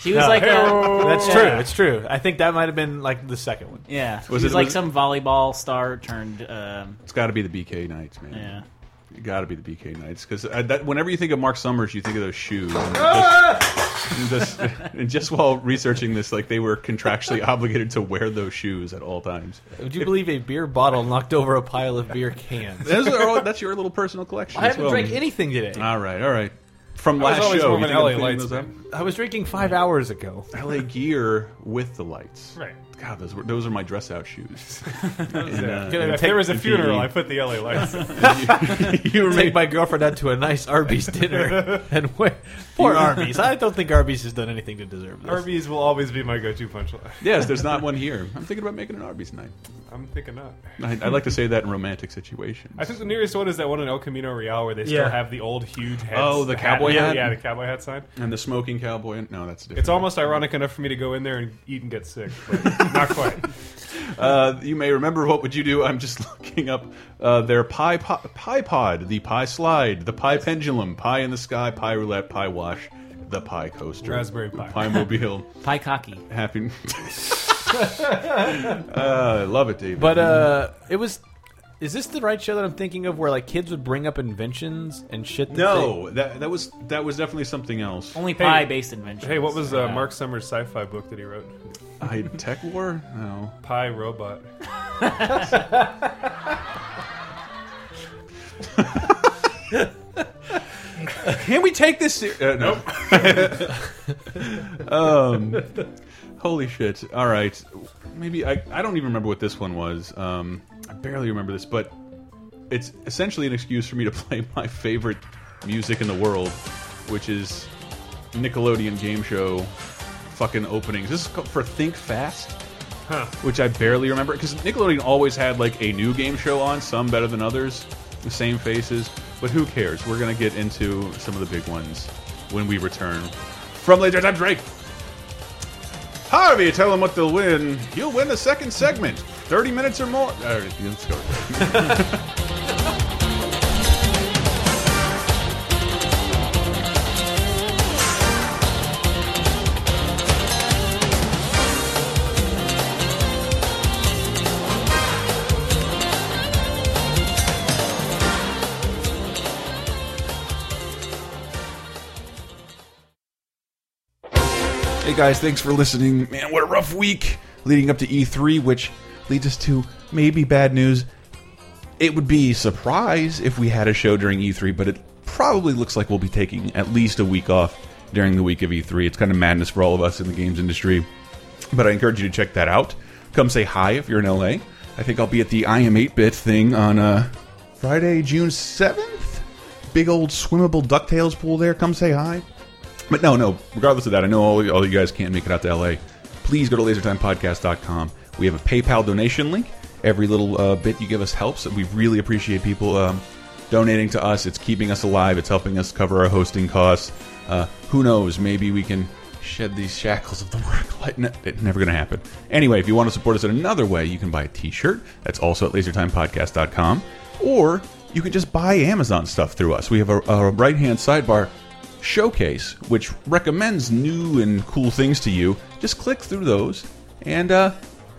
E: She was like, a,
D: That's
E: Yeah.
D: true. It's true. I think that might have been like the second one.
E: yeah, she
B: Was
E: was,
B: it-
E: like
B: was it-
E: some volleyball star turned. Um,
B: It's got to be the BK Knights, man.
E: yeah.
B: You got to be the BK Knights because that whenever you think of Mark Summers, you think of those shoes. And just, and just- and just while researching this, like they were contractually [LAUGHS] obligated to wear those shoes at all times.
D: Would you believe a beer bottle knocked over a pile of beer cans?
B: Those are all- that's your little personal collection.
D: [LAUGHS] I
B: as
D: haven't
B: well.
D: drank anything today.
B: All right, all right. From
C: was
B: last
C: always
B: show,
C: more of
B: you think
C: an
B: I'm
C: LA
B: cleaning
C: Lights
B: those up?
D: I was drinking five hours ago.
B: LA gear with the lights.
C: Right.
B: God, those were those are my dress out shoes. And, uh,
D: Gonna
C: If
D: take-
C: there was a
B: and
C: funeral,
B: PE.
C: I put the LA lights.
D: [LAUGHS]
B: you were
D: Take
B: made
D: my girlfriend out to a nice Arby's dinner and wait. Poor Arby's. I don't think Arby's has done anything to deserve this.
C: Arby's will always be my go-to punchline.
B: yes. There's not one here. I'm thinking about making an Arby's night.
C: I'm thinking not.
B: I, I like to say that in romantic situations.
C: I think the nearest one is that one in El Camino Real where they still
D: Yeah.
C: have the old huge head.
B: Oh, the cowboy
C: yeah,
B: hat?
C: Yeah, the cowboy hat sign.
B: and the smoking cowboy. No, that's different.
C: It's almost ironic enough for me to go in there and eat and get sick,
D: [LAUGHS]
C: but not quite.
B: Uh, you may remember what would you do? I'm just [LAUGHS] looking up uh, their pie, po- pie pod, the pie slide, the pie pendulum, pie in the sky, pie roulette, pie wash, the pie coaster,
C: Raspberry pie.
B: pie mobile,
E: Pie cocky.
B: happy. [LAUGHS] uh, I love it, David.
D: But uh, it was. Is this the right show that I'm thinking of, where like kids would bring up inventions and shit? That
B: no, that that was that was definitely something else.
E: Only pie-based invention.
C: Hey, what was uh, Mark Summers' sci-fi book that he wrote?
B: I, tech war? No.
C: Pie Robot.
B: Can we take this? Ser- uh, no. [LAUGHS] um, holy shit! All right, maybe I, I don't even remember what this one was. Um, I barely remember this, but it's essentially an excuse for me to [LAUGHS] play my favorite music in the world, which is Nickelodeon game show fucking openings. This is called- for Think Fast. Which I barely remember because Nickelodeon always had like a new game show on, some better than others, the same faces. But who cares? We're gonna get into some of the big ones when we return from Laser Time Break. Harvey, tell them what they'll win. You'll win the second segment, thirty minutes or more. All right, let's go. Hey guys, thanks for listening. Man, what a rough week leading up to E3, which leads us to maybe bad news. It would be surprise if we had a show during E3, but it probably looks like we'll be taking at least a week off during the week of E3. It's kind of madness for all of us in the games industry but I encourage you to check that out. Come say hi if you're in LA. I think I'll be at the I Am 8 Bit thing on uh, Friday, June 7th. Big old swimmable DuckTales pool there. Come say hi. But no, no, regardless of that, I know all, all you guys can't make it out to LA. Please go to lasertimepodcast.com. We have a PayPal donation link. Every little uh, bit you give us helps. We really appreciate people um, donating to us. It's keeping us alive, it's helping us cover our hosting costs. Uh, who knows? Maybe we can shed these shackles of the [LAUGHS] work light. Ne- it's never going to happen. Anyway, if you want to support us in another way, you can buy a t shirt. That's also at lasertimepodcast.com. Or you can just buy Amazon stuff through us. We have a, a right hand sidebar showcase, which recommends new and cool things to you. Just click through those and uh,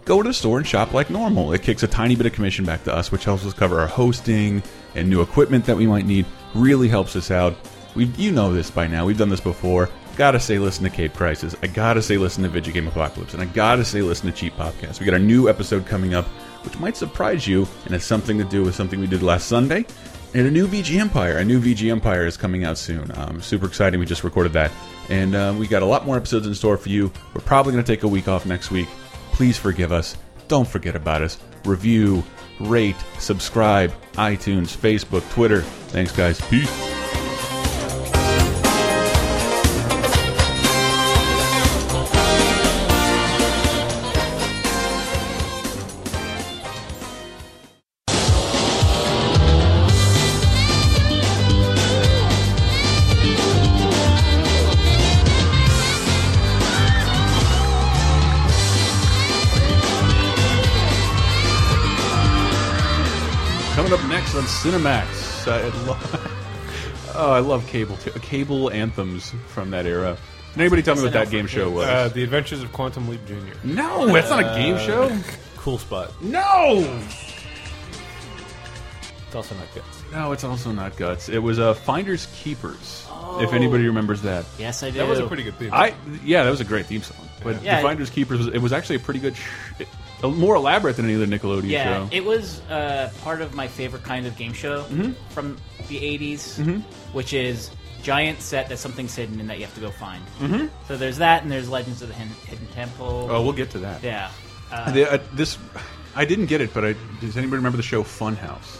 B: go to the store and shop like normal. It kicks a tiny bit of commission back to us, which helps us cover our hosting and new equipment that we might need. Really helps us out. We, you know this by now. We've done this before. Gotta say, listen to Cape Crisis. I gotta say, listen to Video Game Apocalypse, and I gotta say, listen to Cheap Podcast. We got a new episode coming up, which might surprise you, and it's something to do with something we did last Sunday. And a new VG Empire. A new VG Empire is coming out soon. Um, super exciting. We just recorded that. And uh, we got a lot more episodes in store for you. We're probably going to take a week off next week. Please forgive us. Don't forget about us. Review, rate, subscribe, iTunes, Facebook, Twitter. Thanks, guys. Peace. Coming up next on Cinemax, I love, [LAUGHS] oh, I love cable too. Cable anthems from that era. Can anybody tell me what that game show was?
C: Uh, the Adventures of Quantum Leap Jr.
B: no, that's not a game show.
D: cool spot.
B: No,
D: It's also not good.
B: no, it's also not guts. It was uh, Finders Keepers.
E: Oh.
B: If anybody remembers that,
E: Yes, I do.
C: That was a pretty good theme.
B: I yeah, that was a great theme song. But
E: Yeah.
B: the Finders Keepers was it was actually a pretty good, sh it- a- more elaborate than any other Nickelodeon
E: Yeah,
B: show.
E: it was uh, part of my favorite kind of game show
C: Mm-hmm.
E: from the 80s, which is giant set that something's hidden and that you have to go find. Mm-hmm. So there's that, and there's Legends of the Hidden, Hidden Temple.
B: oh, we'll get to that.
E: Yeah.
B: The- uh, this, I didn't get it, but I, does anybody remember the show Funhouse?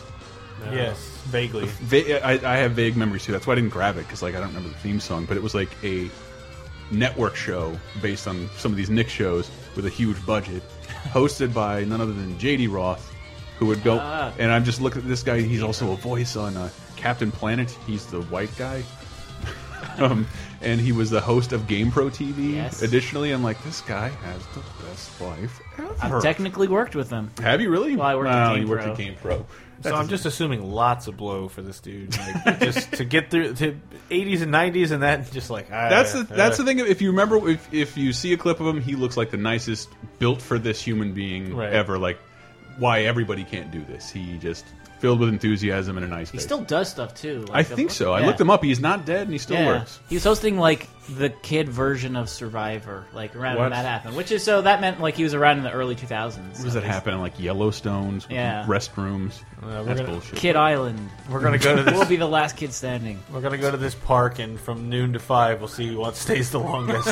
D: Yes,
B: [LAUGHS]
D: vaguely.
B: Va I, I have vague memories too. That's why I didn't grab it because like I don't remember the theme song, but it was like a network show based on some of these Nick shows with a huge budget, hosted by none other than J.D. Roth, who would go.
E: Ah.
B: and I'm just looking at this guy. He's also a voice on uh, Captain Planet. He's the white guy. [LAUGHS] um, and he was the host of Game Pro TV.
E: Yes.
B: Additionally, I'm like, this guy has the best life ever.
E: I've technically worked with them.
B: have you really?
E: Well, I worked at
B: Wow,
E: Game
B: you worked
E: Pro.
B: at Game Pro.
D: So I'm just assuming lots of blow for this dude, like, just to get through to 80s and 90s and that. Just like ah,
B: That's the
D: ah.
B: that's the thing. If you remember, if if you see a clip of him, he looks like the nicest built for this human being
D: Right.
B: ever. Like, why everybody can't do this? He just filled with enthusiasm and a nice.
E: He
B: face.
E: still does stuff too.
B: I
E: Like,
B: think
E: the-
B: so. I
E: yeah.
B: looked him up. He's not dead, and he still
E: Yeah.
B: works.
E: He was hosting like the kid version of Survivor, like around
B: What?
E: when that happened. Which is so that meant like he was around in the early 2000s.
B: Does that happen in like Yellowstones, with
E: Yeah. Uh,
B: restrooms? that's bullshit. [LAUGHS]
E: Kid Island.
D: We're gonna go to
E: We'll
D: this.
E: be the last kid standing.
D: we're gonna go to this park, and from noon to five, we'll see what stays
B: [LAUGHS]
D: the longest.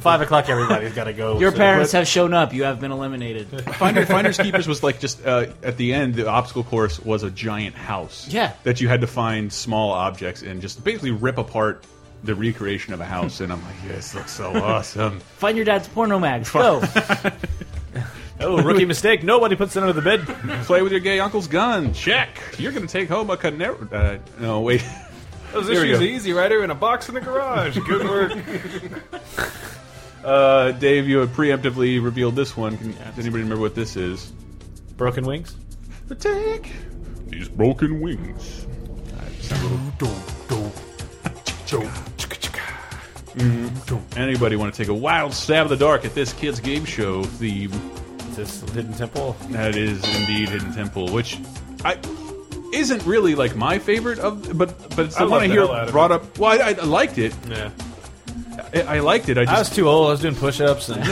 D: five o'clock, everybody's got to go.
E: Your
D: so-
E: parents have shown up. You have been
B: [LAUGHS]
E: eliminated.
B: Finder, Finders Keepers was like just uh, at the end. The obstacle course was a giant house.
E: Yeah.
B: that you had to find small objects and just basically rip apart the recreation of a house. and I'm like, this looks so [LAUGHS] awesome.
E: Find your dad's porno mags. Go.
D: Oh, rookie mistake. Nobody puts it under the bed.
B: Play with your gay uncle's gun. Check. You're gonna take home a canary. Uh, no, wait. [LAUGHS]
C: Those
B: Here we
C: issues
B: go.
C: are easy, right? They're in a box in the garage. Good work.
B: Uh, Dave, you have preemptively revealed this one. Can, Does anybody remember what this is?
D: [LAUGHS] Broken wings.
B: Attack. These broken wings. Mm-hmm. Anybody want to take a wild stab in the dark at this kid's game show theme?
D: Is this hidden temple?
B: That is indeed Hidden Temple, which I isn't really like my favorite of, but but it's the
C: I
B: one
C: love
B: I
C: the
B: hear
C: hell out of it.
B: brought up. Well, I, I liked it.
C: yeah.
B: I, I liked it. I
D: I
B: just
D: was too old. I was doing push-ups. And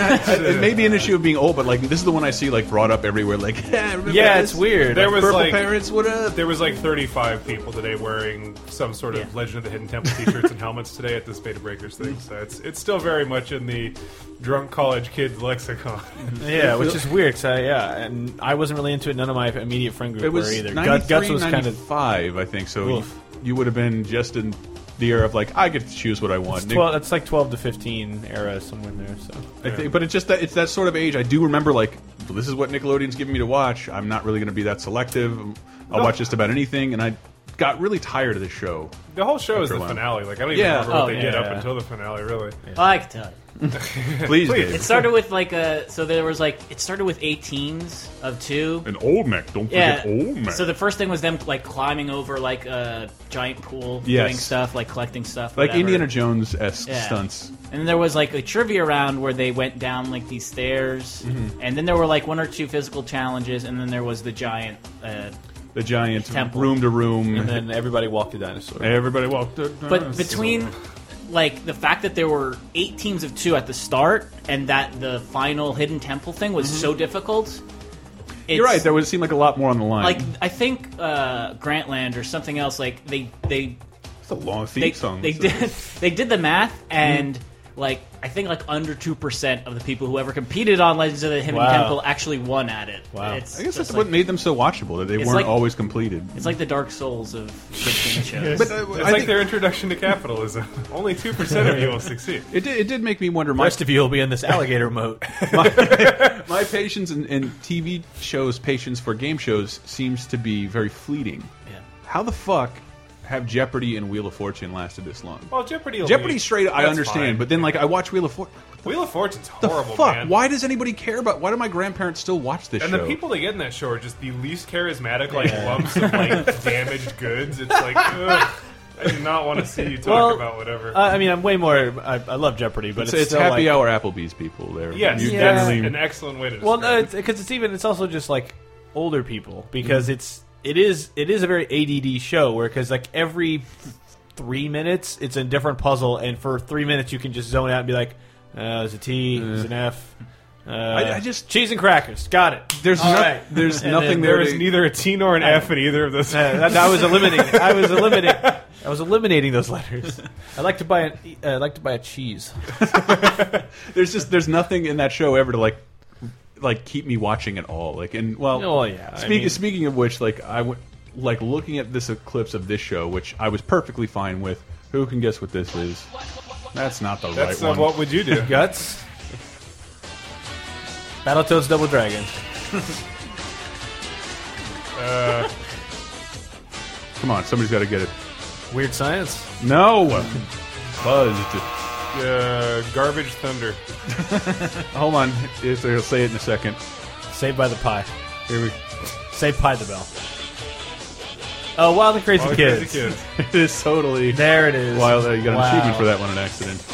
B: it may be an issue of being old, but like this is the one I see like brought up everywhere. Like, [LAUGHS] yeah, remember
D: yeah,
B: this?
D: it's weird.
C: There was
B: Purple
C: like
B: parents, what up?
C: there was like 35 people today wearing some sort of
E: Yeah.
C: Legend of the Hidden Temple t-shirts and helmets today at this Beta Breakers thing. So it's it's still very much in the drunk college kids
E: [LAUGHS]
C: lexicon.
D: [LAUGHS] Yeah, which is weird. 'cause I, yeah, and I wasn't really into it. None of my immediate friend group
B: It was
D: were either. Gu-
B: 93,
D: Guts was kind of.
B: 95, I think. So you,
D: Oof.
B: you would have been just in the era of like I get to choose what I want.
D: It's, 12, it's like 12 to 15 era, somewhere in there. So
B: I think, but it's just that it's that sort of age. I do remember like well, this is what Nickelodeon's giving me to watch. I'm not really going to be that selective. I'll watch just about anything, and I got really tired of this show.
C: The whole show is
B: After a
C: the
B: while.
C: finale. Like I don't even
B: Yeah.
C: remember what
E: Oh,
C: they
E: yeah,
C: did up
D: yeah.
C: until the finale, really.
E: Oh, I can tell you.
B: Please,
C: Please.
E: It
B: Dave.
E: started with like a so there was like it started with 18s of two.
B: an old Mac. Don't
E: Yeah.
B: forget old Mac.
E: So the first thing was them like climbing over like a giant pool,
B: Yes.
E: doing stuff, like collecting stuff,
B: like
E: whatever.
B: Indiana Jones esque
E: Yeah.
B: stunts.
E: And then there was like a trivia round where they went down like these stairs,
B: Mm-hmm.
E: and then there were like one or two physical challenges, and then there was the giant. Uh,
B: The giant
E: Temple.
B: room to room. [LAUGHS]
D: and then everybody walked a dinosaur.
B: Everybody walked.
E: but between like the fact that there were eight teams of two at the start, and that the final hidden temple thing was so difficult. It's,
B: Mm-hmm. You're right. There would seem like a lot more on the line.
E: like I think uh, Grantland or something else. Like they they
B: it's a long theme
E: they,
B: song.
E: they
B: So- Hmm.
E: did [LAUGHS] they did the math and like I think like under two percent of the people who ever competed on Legends of the Hidden
D: Wow.
E: Temple actually won at it.
D: Wow.
E: It's
B: I guess that's
E: just
B: what
E: like,
B: made them so watchable that they
E: It's
B: weren't
E: like-
B: always completed.
E: it's like the Dark Souls of
B: [LAUGHS]
E: kids game shows.
B: But, uh,
C: it's
B: I
C: like
B: think-
C: their introduction to capitalism. [LAUGHS] Only two percent of you will
B: [LAUGHS]
C: succeed.
B: It did, it did make me wonder.
D: The
B: My,
D: rest of you will be in
B: [LAUGHS]
D: this alligator moat. [LAUGHS]
B: my patience in, in TV shows, patience for game shows, seems to be very fleeting.
E: Yeah.
B: How the fuck have Jeopardy and Wheel of Fortune lasted this long?
C: Well, Jeopardy. will
B: Jeopardy
C: be-
B: straight, I
C: that's
B: understand,
C: fine.
B: but then like I watch Wheel of Fortune.
C: Wheel of Fortune's
B: The
C: horrible.
B: fuck?
C: man.
B: Why does anybody care about? Why do my grandparents still watch this
C: And
B: show?
C: the people they get in that show are just the least charismatic, like lumps of like damaged goods. It's like, ugh, I do not want to see you talk
D: Well,
C: about whatever.
D: Uh, I mean, I'm way more. I, I love Jeopardy, but
B: it's,
D: it's,
B: it's
D: still
B: happy
D: like,
B: hour Applebee's people. There,
C: yes,
B: You
C: that's
B: definitely-
C: an excellent way to describe
D: Well, uh, no,
C: it.
D: because it's, even it's also just like older people because
B: Mm-hmm.
D: it's it is it is a very ADD show where because like every three minutes it's a different puzzle and for three minutes you can just zone out and be like, uh, there's a T, there's an F. Uh,
B: I- I just-
D: cheese and crackers. Got it.
B: There's
D: All
B: no-
D: right.
B: there's
D: And
B: nothing
D: then
B: there
C: There
B: to-
C: is neither a T nor an F in either of those.
D: Uh, that, I was eliminating. I was eliminating. I was eliminating those letters. I like to buy an. Uh, I like to buy a cheese.
B: there's just there's nothing in that show ever to like like keep me watching at all. Like, and well,
D: Oh, yeah, I
B: Speaking
D: mean-
B: speaking of which, like I w like looking at this eclipse of this show, which I was perfectly fine with. Who can guess what this is? That's not the
C: [LAUGHS] That's
B: right
C: uh,
B: one.
C: what would you do?
D: Guts. Battletoads Double Dragon.
B: Come on, somebody's got to get it.
D: Weird Science.
B: No, buzzed.
C: Uh, garbage thunder.
B: Hold on, if they'll say it in a second. [LAUGHS]
D: Saved by the Pie.
B: Here we.
D: Save Pie the Bell. Oh, Wild and Crazy,
C: All the
D: kids.
C: crazy kids.
B: It is totally.
D: There it is.
B: Wild, uh, you got an
D: Wow.
B: achievement for that one, an accident.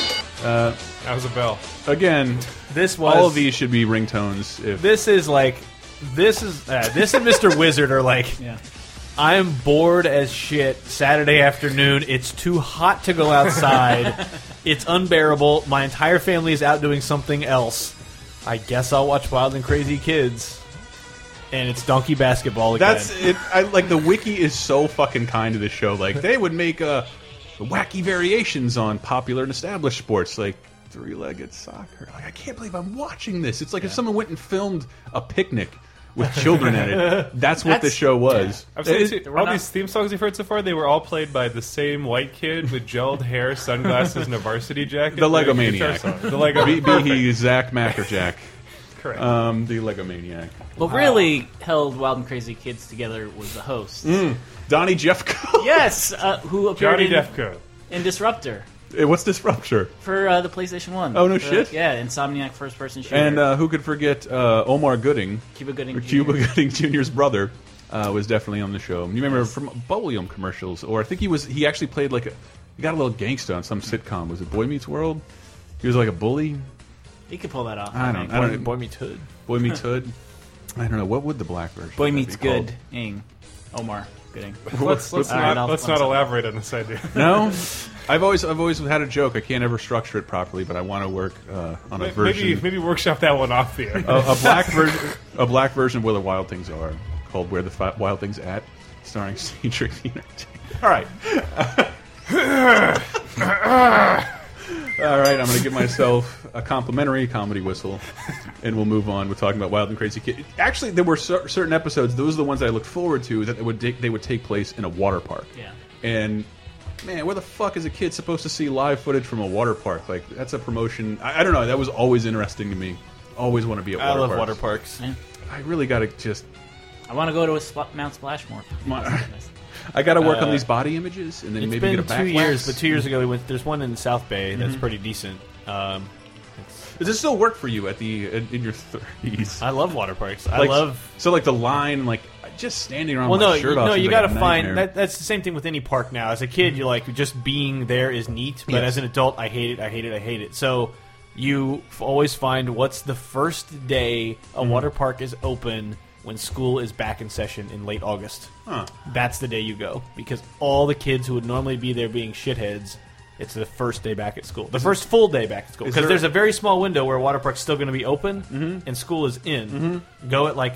C: That was a bell.
B: Again,
D: This was
B: all of these should be ringtones. If
D: This is like, this is uh, this and [LAUGHS] Mr. Wizard are like. I'm bored as shit. Saturday afternoon, it's too hot to go [LAUGHS] outside. it's unbearable. My entire family is out doing something else. I guess I'll watch Wild and Crazy Kids. And it's donkey basketball again.
B: That's it. I, like the wiki is so fucking kind to this show. Like they would make uh, wacky variations on popular and established sports, like three-legged soccer. Like I can't believe I'm watching this. It's like if someone went and filmed a picnic with children in it. That's what the
E: That's-
B: show was.
C: I've seen
B: It-
C: all these theme songs you've heard so far. They were all played by the same white kid with gelled hair, sunglasses, and a varsity jacket.
B: The Lego
C: playing a guitar
B: Maniac.
C: song. The Lego.
B: be, be he Zach Mack or Jack,
C: Correct.
B: um, the Lego Maniac,
E: What really held Wild and Crazy Kids together was the host.
B: Hmm. Donnie Jeffco. [LAUGHS]
E: Yes, uh, who appeared
C: Johnny
E: in,
C: Defco.
E: in Disruptor
B: Hey, What's this rupture?
E: for uh, the PlayStation One.
B: Oh, no
E: The-
B: shit.
E: Yeah, Insomniac first person shooter.
B: And uh, who could forget uh, Omar Gooding?
E: Cuba Gooding.
B: Cuba
E: Jr..
B: Gooding [LAUGHS] Jr.'s brother uh, was definitely on the show. You remember from Bubblegum commercials, or I think he was. He actually played like a. He got a little gangsta on some sitcom. Was it Boy Meets World? He was like a bully.
E: He could pull that off.
B: I don't.
E: think.
B: I don't. Boy,
D: Boy Meets Hood.
E: [LAUGHS]
B: Meets Hood. I don't know. What would the black version?
E: Boy
B: of that
E: Meets
B: be called?
E: Good. Ing. Omar Gooding.
C: Let's, let's
E: All right,
C: not
E: I'll-
C: let's
E: I'll
C: not
E: stop.
C: elaborate on this idea.
B: No,
E: [LAUGHS]
B: I've always I've always had a joke. I can't ever structure it properly, but I want to work uh, on a version. Oh.
C: maybe maybe workshop that one off the air. [LAUGHS]
B: a, a black version, a black version of where the wild things are, called "Where the Fi- Wild Things At," starring [LAUGHS] Cedric the Entertainer. All right, all right. I'm going to give myself a complimentary comedy whistle, and we'll move on with talking about Wild and Crazy Kid. Actually, there were cer certain episodes; those are the ones I looked forward to that they would take- they would take place in a water park.
E: Yeah.
B: and. Man, where the fuck is a kid supposed to see live footage from a water park? Like, that's a promotion. I, I don't know. That was always interesting to me. Always want to be at water
D: I love
B: parks.
D: water parks.
B: I really gotta just.
E: I want to go to a spl- Mount Splashmore. [LAUGHS]
B: My- I gotta work on these body images and then
D: Uh, It's
B: maybe
D: been
B: get a back Mm-hmm.
D: two
B: wax.
D: years, but two years ago we went. There's one in South Bay that's pretty decent. Um,
B: Does this still work for you at the in, in your thirties?
D: I love water parks. I
B: Like,
D: love
B: so like the line like just standing around.
D: Well,
B: with my
D: no,
B: shirt
D: you-
B: off
D: no,
B: seems
D: you
B: like a
D: got to find
B: nightmare.
D: that, that's the same thing with any park now. As a kid, you're like just being there is neat, but
B: Yes.
D: as an adult, I hate it, I hate it, I hate it. So you f- always find what's the first day
B: Mm-hmm.
D: a water park is open when school is back in session in late August.
B: Huh.
D: That's the day you go because all the kids who would normally be there being shitheads. It's the first day back at school. The first full day back at school.
B: is
D: Because
B: there- Mm-hmm.
D: there's a very small window where water park's still going to be open and school is in. Go at like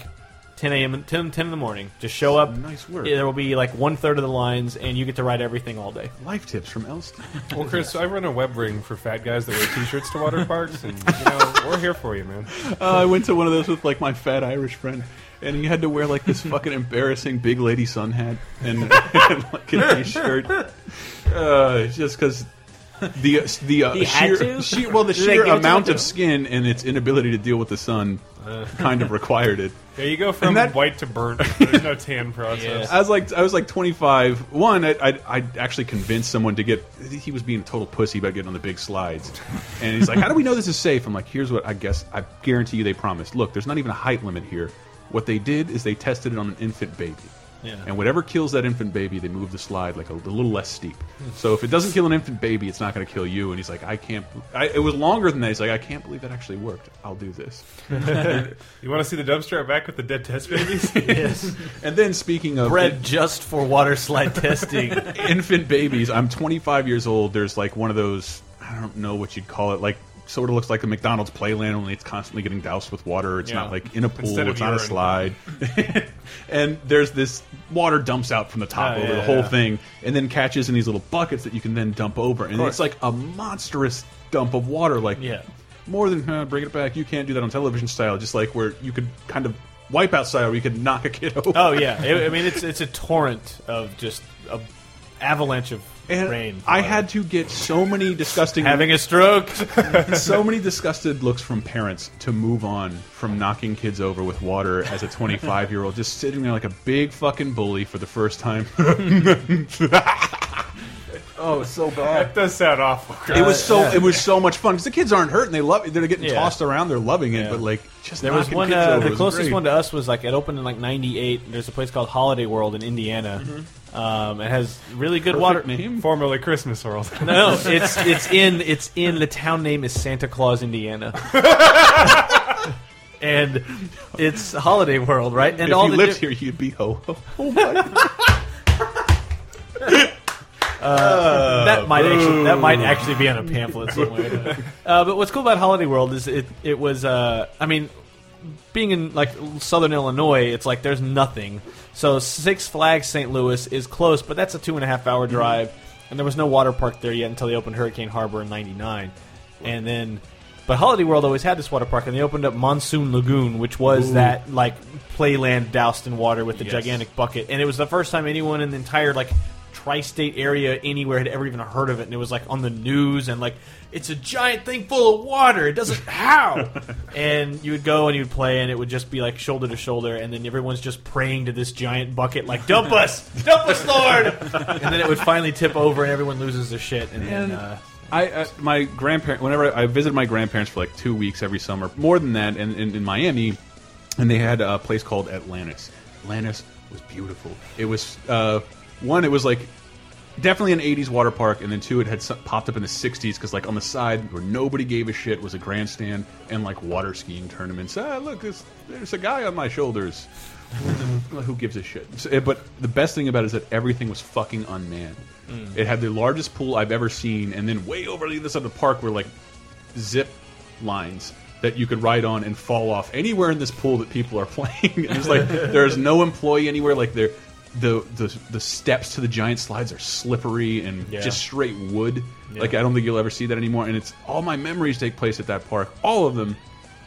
D: 10 a.m. and 10, 10 in the morning. Just show up.
B: Nice work.
D: Yeah, there will be like one third of the lines, and you get to ride everything all day.
B: life tips from Elston.
C: Well, Chris, I run a web ring for fat guys that wear T-shirts to water parks, and you know we're here for you, man.
B: uh, I went to one of those with like my fat Irish friend, and he had to wear like this fucking embarrassing big lady sun hat and, [LAUGHS] and like a t-shirt, uh, just because the the, uh,
E: He
B: sheer,
E: had to?
B: she- well the
E: Did they
B: sheer
E: give it to him
B: amount
E: to
B: of
E: do?
B: skin and its inability to deal with the sun kind of required it.
C: Yeah, you go from
B: And that-
C: white to burnt. There's no tan process.
B: I was like, I was like 25. One, I, I, I actually convinced someone to get. He was being a total pussy about getting on the big slides, and he's like, "How do we know this is safe?" I'm like, "Here's what I guess. I guarantee you, they promised. Look, there's not even a height limit here. What they did is they tested it on an infant baby."
D: Yeah.
B: And whatever kills that infant baby, they move the slide like a, little less steep. So if it doesn't kill an infant baby, it's not going to kill you. And he's like, I can't. I, it was longer than that. He's like, I can't believe that actually worked. I'll do this.
C: You want to see the dumpster out back with the dead
B: [LAUGHS]
C: test babies?
D: Yes,
B: And then speaking of
D: bred just for water slide [LAUGHS] testing.
B: infant babies. I'm 25 years old. There's like one of those. I don't know what you'd call it. Like sort of looks like a McDonald's playland only it's constantly getting doused with water. It's
D: Yeah.
B: not like in a pool.
C: Instead of
B: It's not a
C: urine.
B: slide. [LAUGHS] and there's this water dumps out from the top
D: Oh,
B: over
D: yeah,
B: the whole
D: yeah.
B: thing, and then catches in these little buckets that you can then dump over, and it's like a monstrous dump of water. Like
D: Yeah.
B: more than uh, bring it back. You can't do that on television style. Just like where you could kind of wipeout style, where you could knock a kid over.
D: Oh yeah, It- I mean it's it's a torrent of just a avalanche of
B: And
D: rain.
B: I had to get so many disgusting
D: having a stroke.
B: [LAUGHS] so
D: [LAUGHS]
B: many disgusted looks from parents to move on from knocking kids over with water as a 25 year old just sitting there like a big fucking bully for the first time. [LAUGHS] oh, it's so bad.
C: That does sound awful. Chris.
B: It was so it was so much fun because the kids aren't hurting. They love it. They're getting
D: Yeah.
B: tossed around. They're loving it.
D: Yeah.
B: But like just
D: There was
B: knocking
D: one.
B: kids
D: Uh,
B: over
D: the
B: was
D: closest
B: great.
D: one to us was like it opened in like '98. There's a place called Holiday World in Indiana. Um, it has really good water.
B: Mm-hmm. Perfect name.
C: formerly Christmas World.
D: No, no, it's it's in it's in the town name is Santa
B: [LAUGHS]
D: Claus, Indiana. and it's Holiday World, right? And
B: If
D: all
B: you
D: the
B: lived
D: di-
B: here, you'd be ho ho.
D: that might actually, that might actually be on a pamphlet somewhere. uh, but what's cool about Holiday World is it it was uh, I mean, being in like Southern Illinois, it's like there's nothing. So Six Flags St. Louis is close, but that's a two and a half hour drive, and there was no water park there yet until they opened Hurricane Harbor in '99, and then. But Holiday World always had this water park, and they opened up Monsoon Lagoon, which was that like playland doused in water with the gigantic bucket, and it was the first time anyone in the entire like tri-state area anywhere had ever even heard of it, and it was like on the news and like it's a giant thing full of water. It doesn't how, and you would go and you would play, and it would just be like shoulder to shoulder, and then everyone's just praying to this giant bucket, like dump us, dump us, Lord, and then it would finally tip over, and everyone loses their shit, and then. Uh,
B: I, uh, my grandparent, whenever I, I visit my grandparents for like two weeks every summer, more than that, and in, in Miami, and they had a place called Atlantis. Atlantis was beautiful. It was uh, one, it was like definitely an '80s water park, and then two, it had some, popped up in the '60s because like on the side where nobody gave a shit was a grandstand and like water skiing tournaments. Ah, look, there's, there's a guy on my shoulders. Who gives a shit? So, eh, but the best thing about it is that everything was fucking unmanned. It had the largest pool I've ever seen, and then way over the other side of the park were like zip lines that you could ride on and fall off anywhere in this pool that people are [LAUGHS] playing. And it's like there's no employee anywhere. Like there, the the the steps to the giant slides are slippery and
D: Yeah.
B: just straight wood. Like I don't think you'll ever see that anymore. And it's all my memories take place at that park, all of them.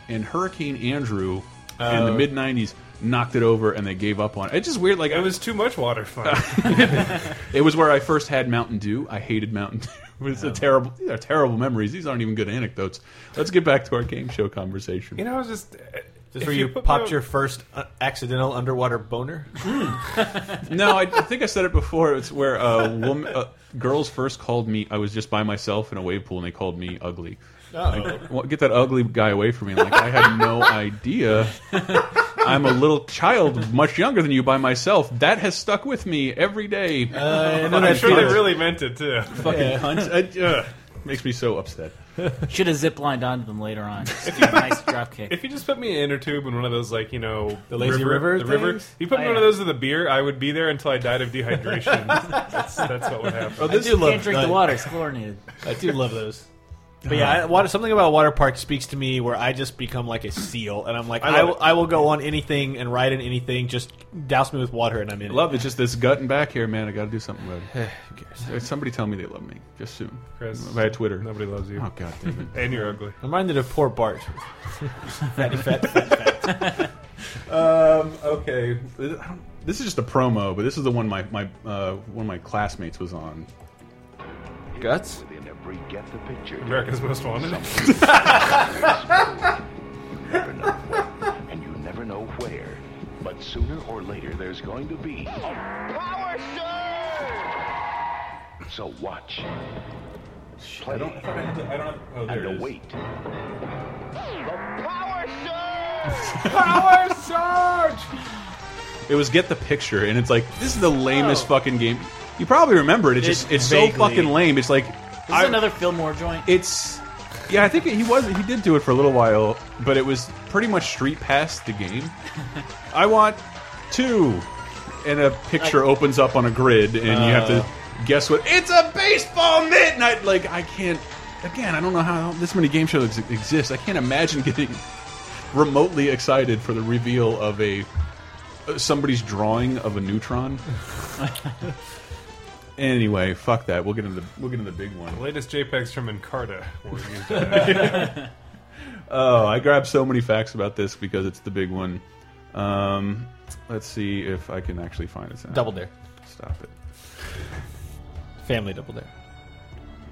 B: And Hurricane Andrew in the mid '90s knocked it over, and they gave up on it. It's just weird. Like I
C: [LAUGHS] It
B: was,
C: was too much water
B: [LAUGHS]
C: fun.
B: it was where I first had Mountain Dew. I hated Mountain Dew. [LAUGHS] It was a terrible. These are terrible memories. These aren't even good anecdotes. Let's get back to our game show conversation.
C: you know, it's just
D: this
C: if
D: where you,
C: put
D: popped
C: the-
D: your first uh, accidental underwater boner.
B: No, I, I think I said it before. It's where uh, woman, uh, girls first called me. I was just by myself in a wave pool, and they called me ugly.
C: Oh.
B: Like, "Well, get that ugly guy away from me! Like I had no idea. I'm a little child, much younger than you, by myself. That has stuck with me every day.
C: Uh. I'm sure
D: Cunt.
C: they really meant it too.
B: Fucking
C: [LAUGHS]
B: cunt. I, ugh. makes me so upset.
E: Should have ziplined onto them later on. nice drop kick.
C: If you just put me in an inner tube in one of those, like you know, the
D: lazy river
C: the river.
D: things?
C: You put me in
E: Oh,
C: one of
E: yeah.
C: those with a beer, I would be there until I died of dehydration. that's, that's what would happen.
D: I do
E: you
D: love
E: can't drink
D: that.
E: the water; it's chlorinated.
D: I do love those. But yeah,
B: Uh-huh.
D: I, water, something about water park speaks to me where I just become like a seal, and I'm like,
C: love
D: I, will,
C: it.
D: I will go on anything and ride in anything. Just douse me with water, and I'm in.
B: Love is just this gut and back here, man. I got to do something about
C: [SIGHS]
B: it. Somebody tell me they love me just soon
C: Chris,
B: via Twitter.
C: Nobody loves you,
B: Oh god damn it.
C: and you're ugly.
D: it. I'm reminded of poor Bart. Fatty fat.
B: Um, okay. I don't- This is just a promo, but this is the one my, my uh, one of my classmates was on.
J: Guts?
G: Get the picture.
C: America's Most Wanted.
G: never know when, [LAUGHS] and you never know where. But sooner or later, there's going to be a power surge. So watch
B: I don't. I thought I had to- I don't have. Oh, there it
G: and
B: is.
G: wait. The power surge.
C: Power Surge.
B: It was get the picture, and it's like this is the lamest fucking game. You probably remember it. It's just it's so
D: vaguely.
B: fucking lame. It's like
E: This is another Fillmore joint.
B: it's. Yeah, I think he was. He did do it for a little while, but it was pretty much street past the game. I want two, and a picture opens up on a grid, and you have to guess what. It's a baseball mitt, and I like I can't. Again, I don't know how this many game shows ex exist. I can't imagine [LAUGHS] getting remotely excited for the reveal of a uh, somebody's drawing of a neutron. anyway, fuck that. We'll get into the, we'll get into the big one.
C: Latest JPEGs from Encarta were used.
B: Oh, I grabbed so many facts about this because it's the big one. Um, let's see if I can actually find this out.
D: Double dare.
B: Stop it.
D: Family double dare.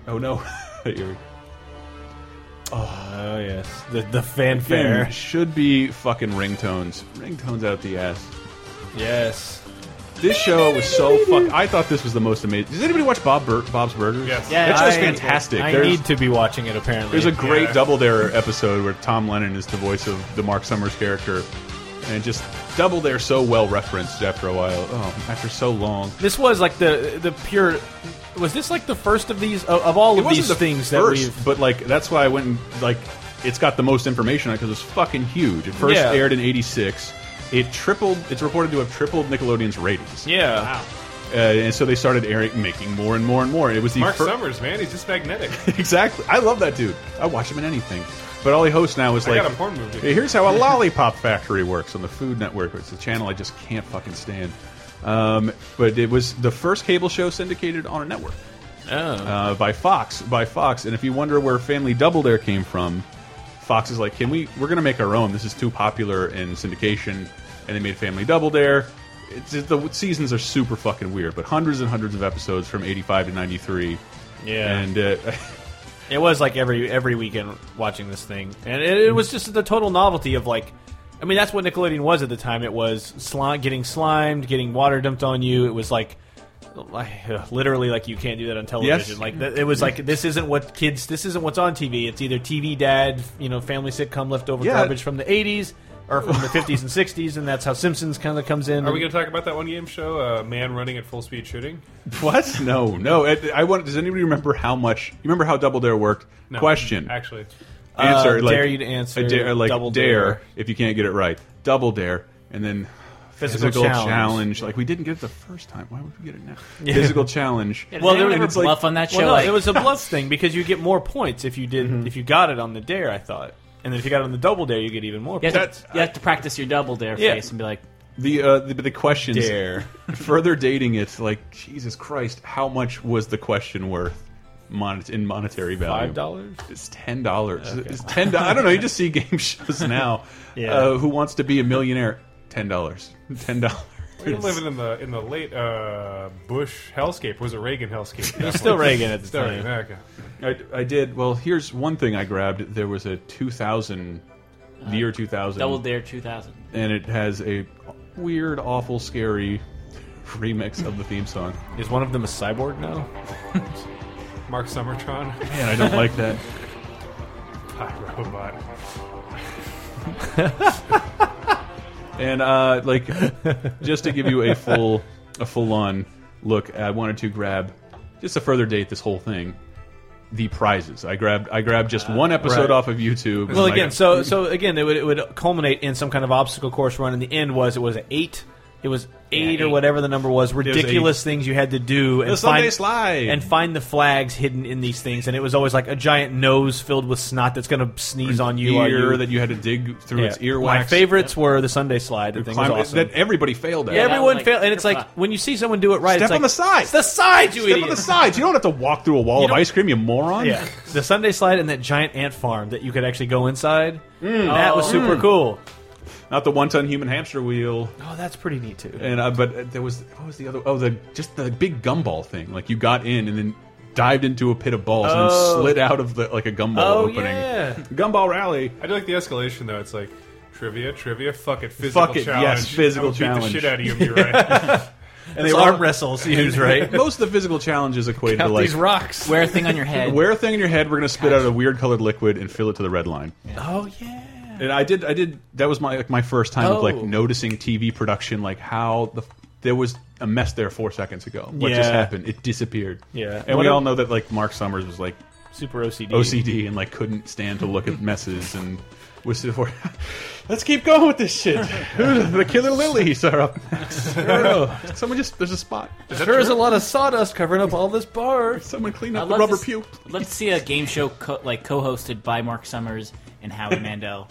B: Oh no. [LAUGHS] You're-
D: Oh yes, the the fanfare.
B: Again, should be fucking ringtones. Ringtones out the ass.
D: Yes.
B: This show was so fuck. I thought this was the most amazing. Does anybody watch Bob Bur Bob's Burgers?
C: Yes.
E: Yeah,
B: that show's
D: I-
B: fantastic.
D: I
B: There's-
D: need to be watching it apparently.
B: There's a great
C: Yeah.
B: Double Dare episode where Tom Lennon is the voice of the Mark Summers character, and just Double Dare so well referenced after a while. Oh, after so long.
D: This was like the the pure. Was this like the first of these of, of all
B: It
D: of
B: wasn't
D: these
B: the
D: things that
B: first,
D: we've?
B: but like that's why I went and like it's got the most information on it because it's fucking huge. It first
D: Yeah.
B: aired in '86. It tripled. It's reported to have tripled Nickelodeon's ratings.
D: Yeah.
B: Uh, and so they started airing, making more and more and more. It was the
C: Mark
B: fir-
C: Summers, man, he's just magnetic.
B: exactly. I love that dude. I watch him in anything. But all he hosts now is
C: I
B: like,
C: got a porn movie.
B: Hey, here's
C: [LAUGHS]
B: how a lollipop factory works on the Food Network. It's a channel I just can't fucking stand. Um, but it was the first cable show syndicated on a network
C: Oh.
B: uh, by Fox. By Fox. And if you wonder where Family Double Dare came from, Fox is like, can we? We're gonna make our own. This is too popular in syndication, and they made Family Double Dare. It's just, the seasons are super fucking weird, but hundreds and hundreds of episodes from '85 to '93.
D: Yeah.
B: and uh, [LAUGHS]
D: It was like every every weekend watching this thing, and it, it was just the total novelty of like, I mean, that's what Nickelodeon was at the time. It was slime, getting slimed, getting water dumped on you. It was like, like, [LAUGHS] literally like you can't do that on television.
B: Yes.
D: Like th- it was like this isn't what kids, this isn't what's on TV. It's either TV dad, you know, family sitcom leftover
B: Yeah.
D: garbage from the '80s or from the '50s and '60s, and that's how Simpsons kind of comes in.
C: Are we going to talk about that one game show, uh, Man Running at Full Speed Shooting?
B: What? No, no. I, I want. Does anybody remember how much? You remember how Double Dare worked?
C: No,
B: Question.
C: Actually.
B: answer.
D: Uh,
B: like,
D: dare you to answer,
B: A dare, like
D: double
B: dare,
D: dare.
B: If you can't get it right, double dare, and then
D: Physical challenge.
B: Like we didn't get it the first time. Why would we get it
D: [LAUGHS]
B: now? Physical challenge.
E: Well, there
B: and
E: was
B: it's like-
E: bluff on that show.
D: Well, no,
E: like,
D: it was a bluff thing because you get more points if you did if you got it on the dare. I thought, and then if you got it on the double dare, you get even more.
E: you, have
D: points.
E: to, you have to practice your double dare
D: Yeah.
E: face and be like,
B: The uh, the, the questions.
D: Dare.
B: [LAUGHS] further dating it, like Jesus Christ, how much was the question worth? Mon in monetary value,
D: Five dollars.
B: It's ten dollars. It's ten. do- I don't know. You just see game [LAUGHS] shows now. uh, who wants to be a millionaire? Ten dollars. Ten dollars.
C: We're living in the in the late uh, Bush hellscape. Was it Reagan hellscape? It was [LAUGHS]
D: Still Reagan at the
C: Still
D: time.
C: Reagan. Okay.
B: I, I did. Well, here's one thing I grabbed. There was a 2000, the year 2000,
E: Double Dare 2000.
B: and it has a weird, awful, scary [LAUGHS] remix of the theme song.
D: Is one of them a cyborg now?
C: Mark Summertron, [LAUGHS]
B: Man, I don't like that.
C: Hi Robot.
B: And uh, like, just to give you a full, a full-on look, I wanted to grab just to further date this whole thing. The prizes I grabbed. I grabbed just one episode
D: Ah, right.
B: off of YouTube.
D: Well,
B: and,
D: again,
B: like,
D: [LAUGHS] so so again, it would, it would culminate in some kind of obstacle course run, and the end was it was an eight. It was eight or
E: eight.
D: whatever the number was.
B: eight.
D: Ridiculous things you had to do and
B: The Sunday
D: find
B: slide.
D: and find the flags hidden in these things. And it was always like a giant nose filled with snot that's going to sneeze on you. while
B: ear
D: you
B: that you had to dig through its
D: Yeah.
B: earwax.
D: My favorites were the Sunday slide. The thing was
B: Climb-
D: awesome.
B: that everybody failed at.
E: Yeah, that
D: Everyone
E: was like-
D: failed, and it's [LAUGHS] like when you see someone do it right.
B: Step
D: it's like,
B: on the side.
D: It's the sides, you
B: Step
D: idiot.
B: on the sides. You don't have to walk through a wall of
D: don't-
B: ice cream, you moron.
D: Yeah, [LAUGHS] the Sunday slide and that giant ant farm that you could actually go inside. That was super cool.
B: Not the one-ton human hamster wheel.
D: Oh, that's pretty neat too.
B: And uh, but uh, there was what was the other? Oh, the just the big gumball thing. Like you got in and then dived into a pit of balls and
D: Oh.
B: then slid out of the like a gumball
D: Oh,
B: opening.
D: yeah.
B: Gumball rally.
C: I do like the escalation though. It's like trivia, trivia, fuck it, physical
B: Fuck it, yes,
C: challenge.
B: physical
C: I would
B: challenge.
C: Beat the shit out of you. if You're right.
D: And they arm wrestle used [LAUGHS]
B: [LAUGHS]
D: right.
B: Most of the physical challenges equated to
D: Count
B: like
D: these rocks.
E: Wear a thing on your
B: [LAUGHS]
E: head.
B: wear a thing in your head. We're gonna spit out a weird colored liquid and fill it to the red line.
D: Oh yeah.
B: And I did, I did. That was my like my first time of like
D: Oh.
B: noticing TV production, like how the there was a mess there four seconds ago. What just
D: Yeah.
B: happened? It disappeared.
D: Yeah.
B: and
D: What
B: we
D: a-
B: all know that like Mark Summers was like
D: Super OCD.
B: OCD and like couldn't stand to look at messes and was for. [LAUGHS] Let's keep going with this
D: [LAUGHS]
B: shit. the killer lilies are up next. I don't know. Someone just there's a spot.
D: Sure is a lot of sawdust covering up all this bar.
B: Someone clean
E: I'd
B: up the
E: love
B: rubber
E: to s-
B: puke.
E: I'd love to see a game show co- like co-hosted by Mark Summers and Howie Mandel.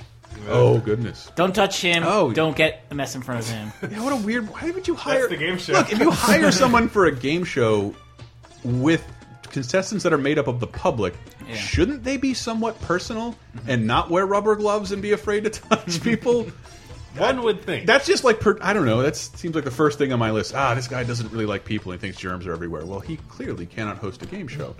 B: Oh goodness.
E: Don't touch him.
B: Oh.
E: Don't get the mess in front of him.
B: [LAUGHS] Yeah, what a weird. Why would you hire
D: [LAUGHS]
C: the game show.
B: Look, if you hire someone for a game show with contestants that are made up of the public, shouldn't they be somewhat personal and not wear rubber gloves and be afraid to [LAUGHS] touch people?
C: One would think.
B: That's just like per I don't know. That seems like the first thing on my list. Ah, this guy doesn't really like people and thinks germs are everywhere. Well, he clearly cannot host a game [CLEARS THROAT] show.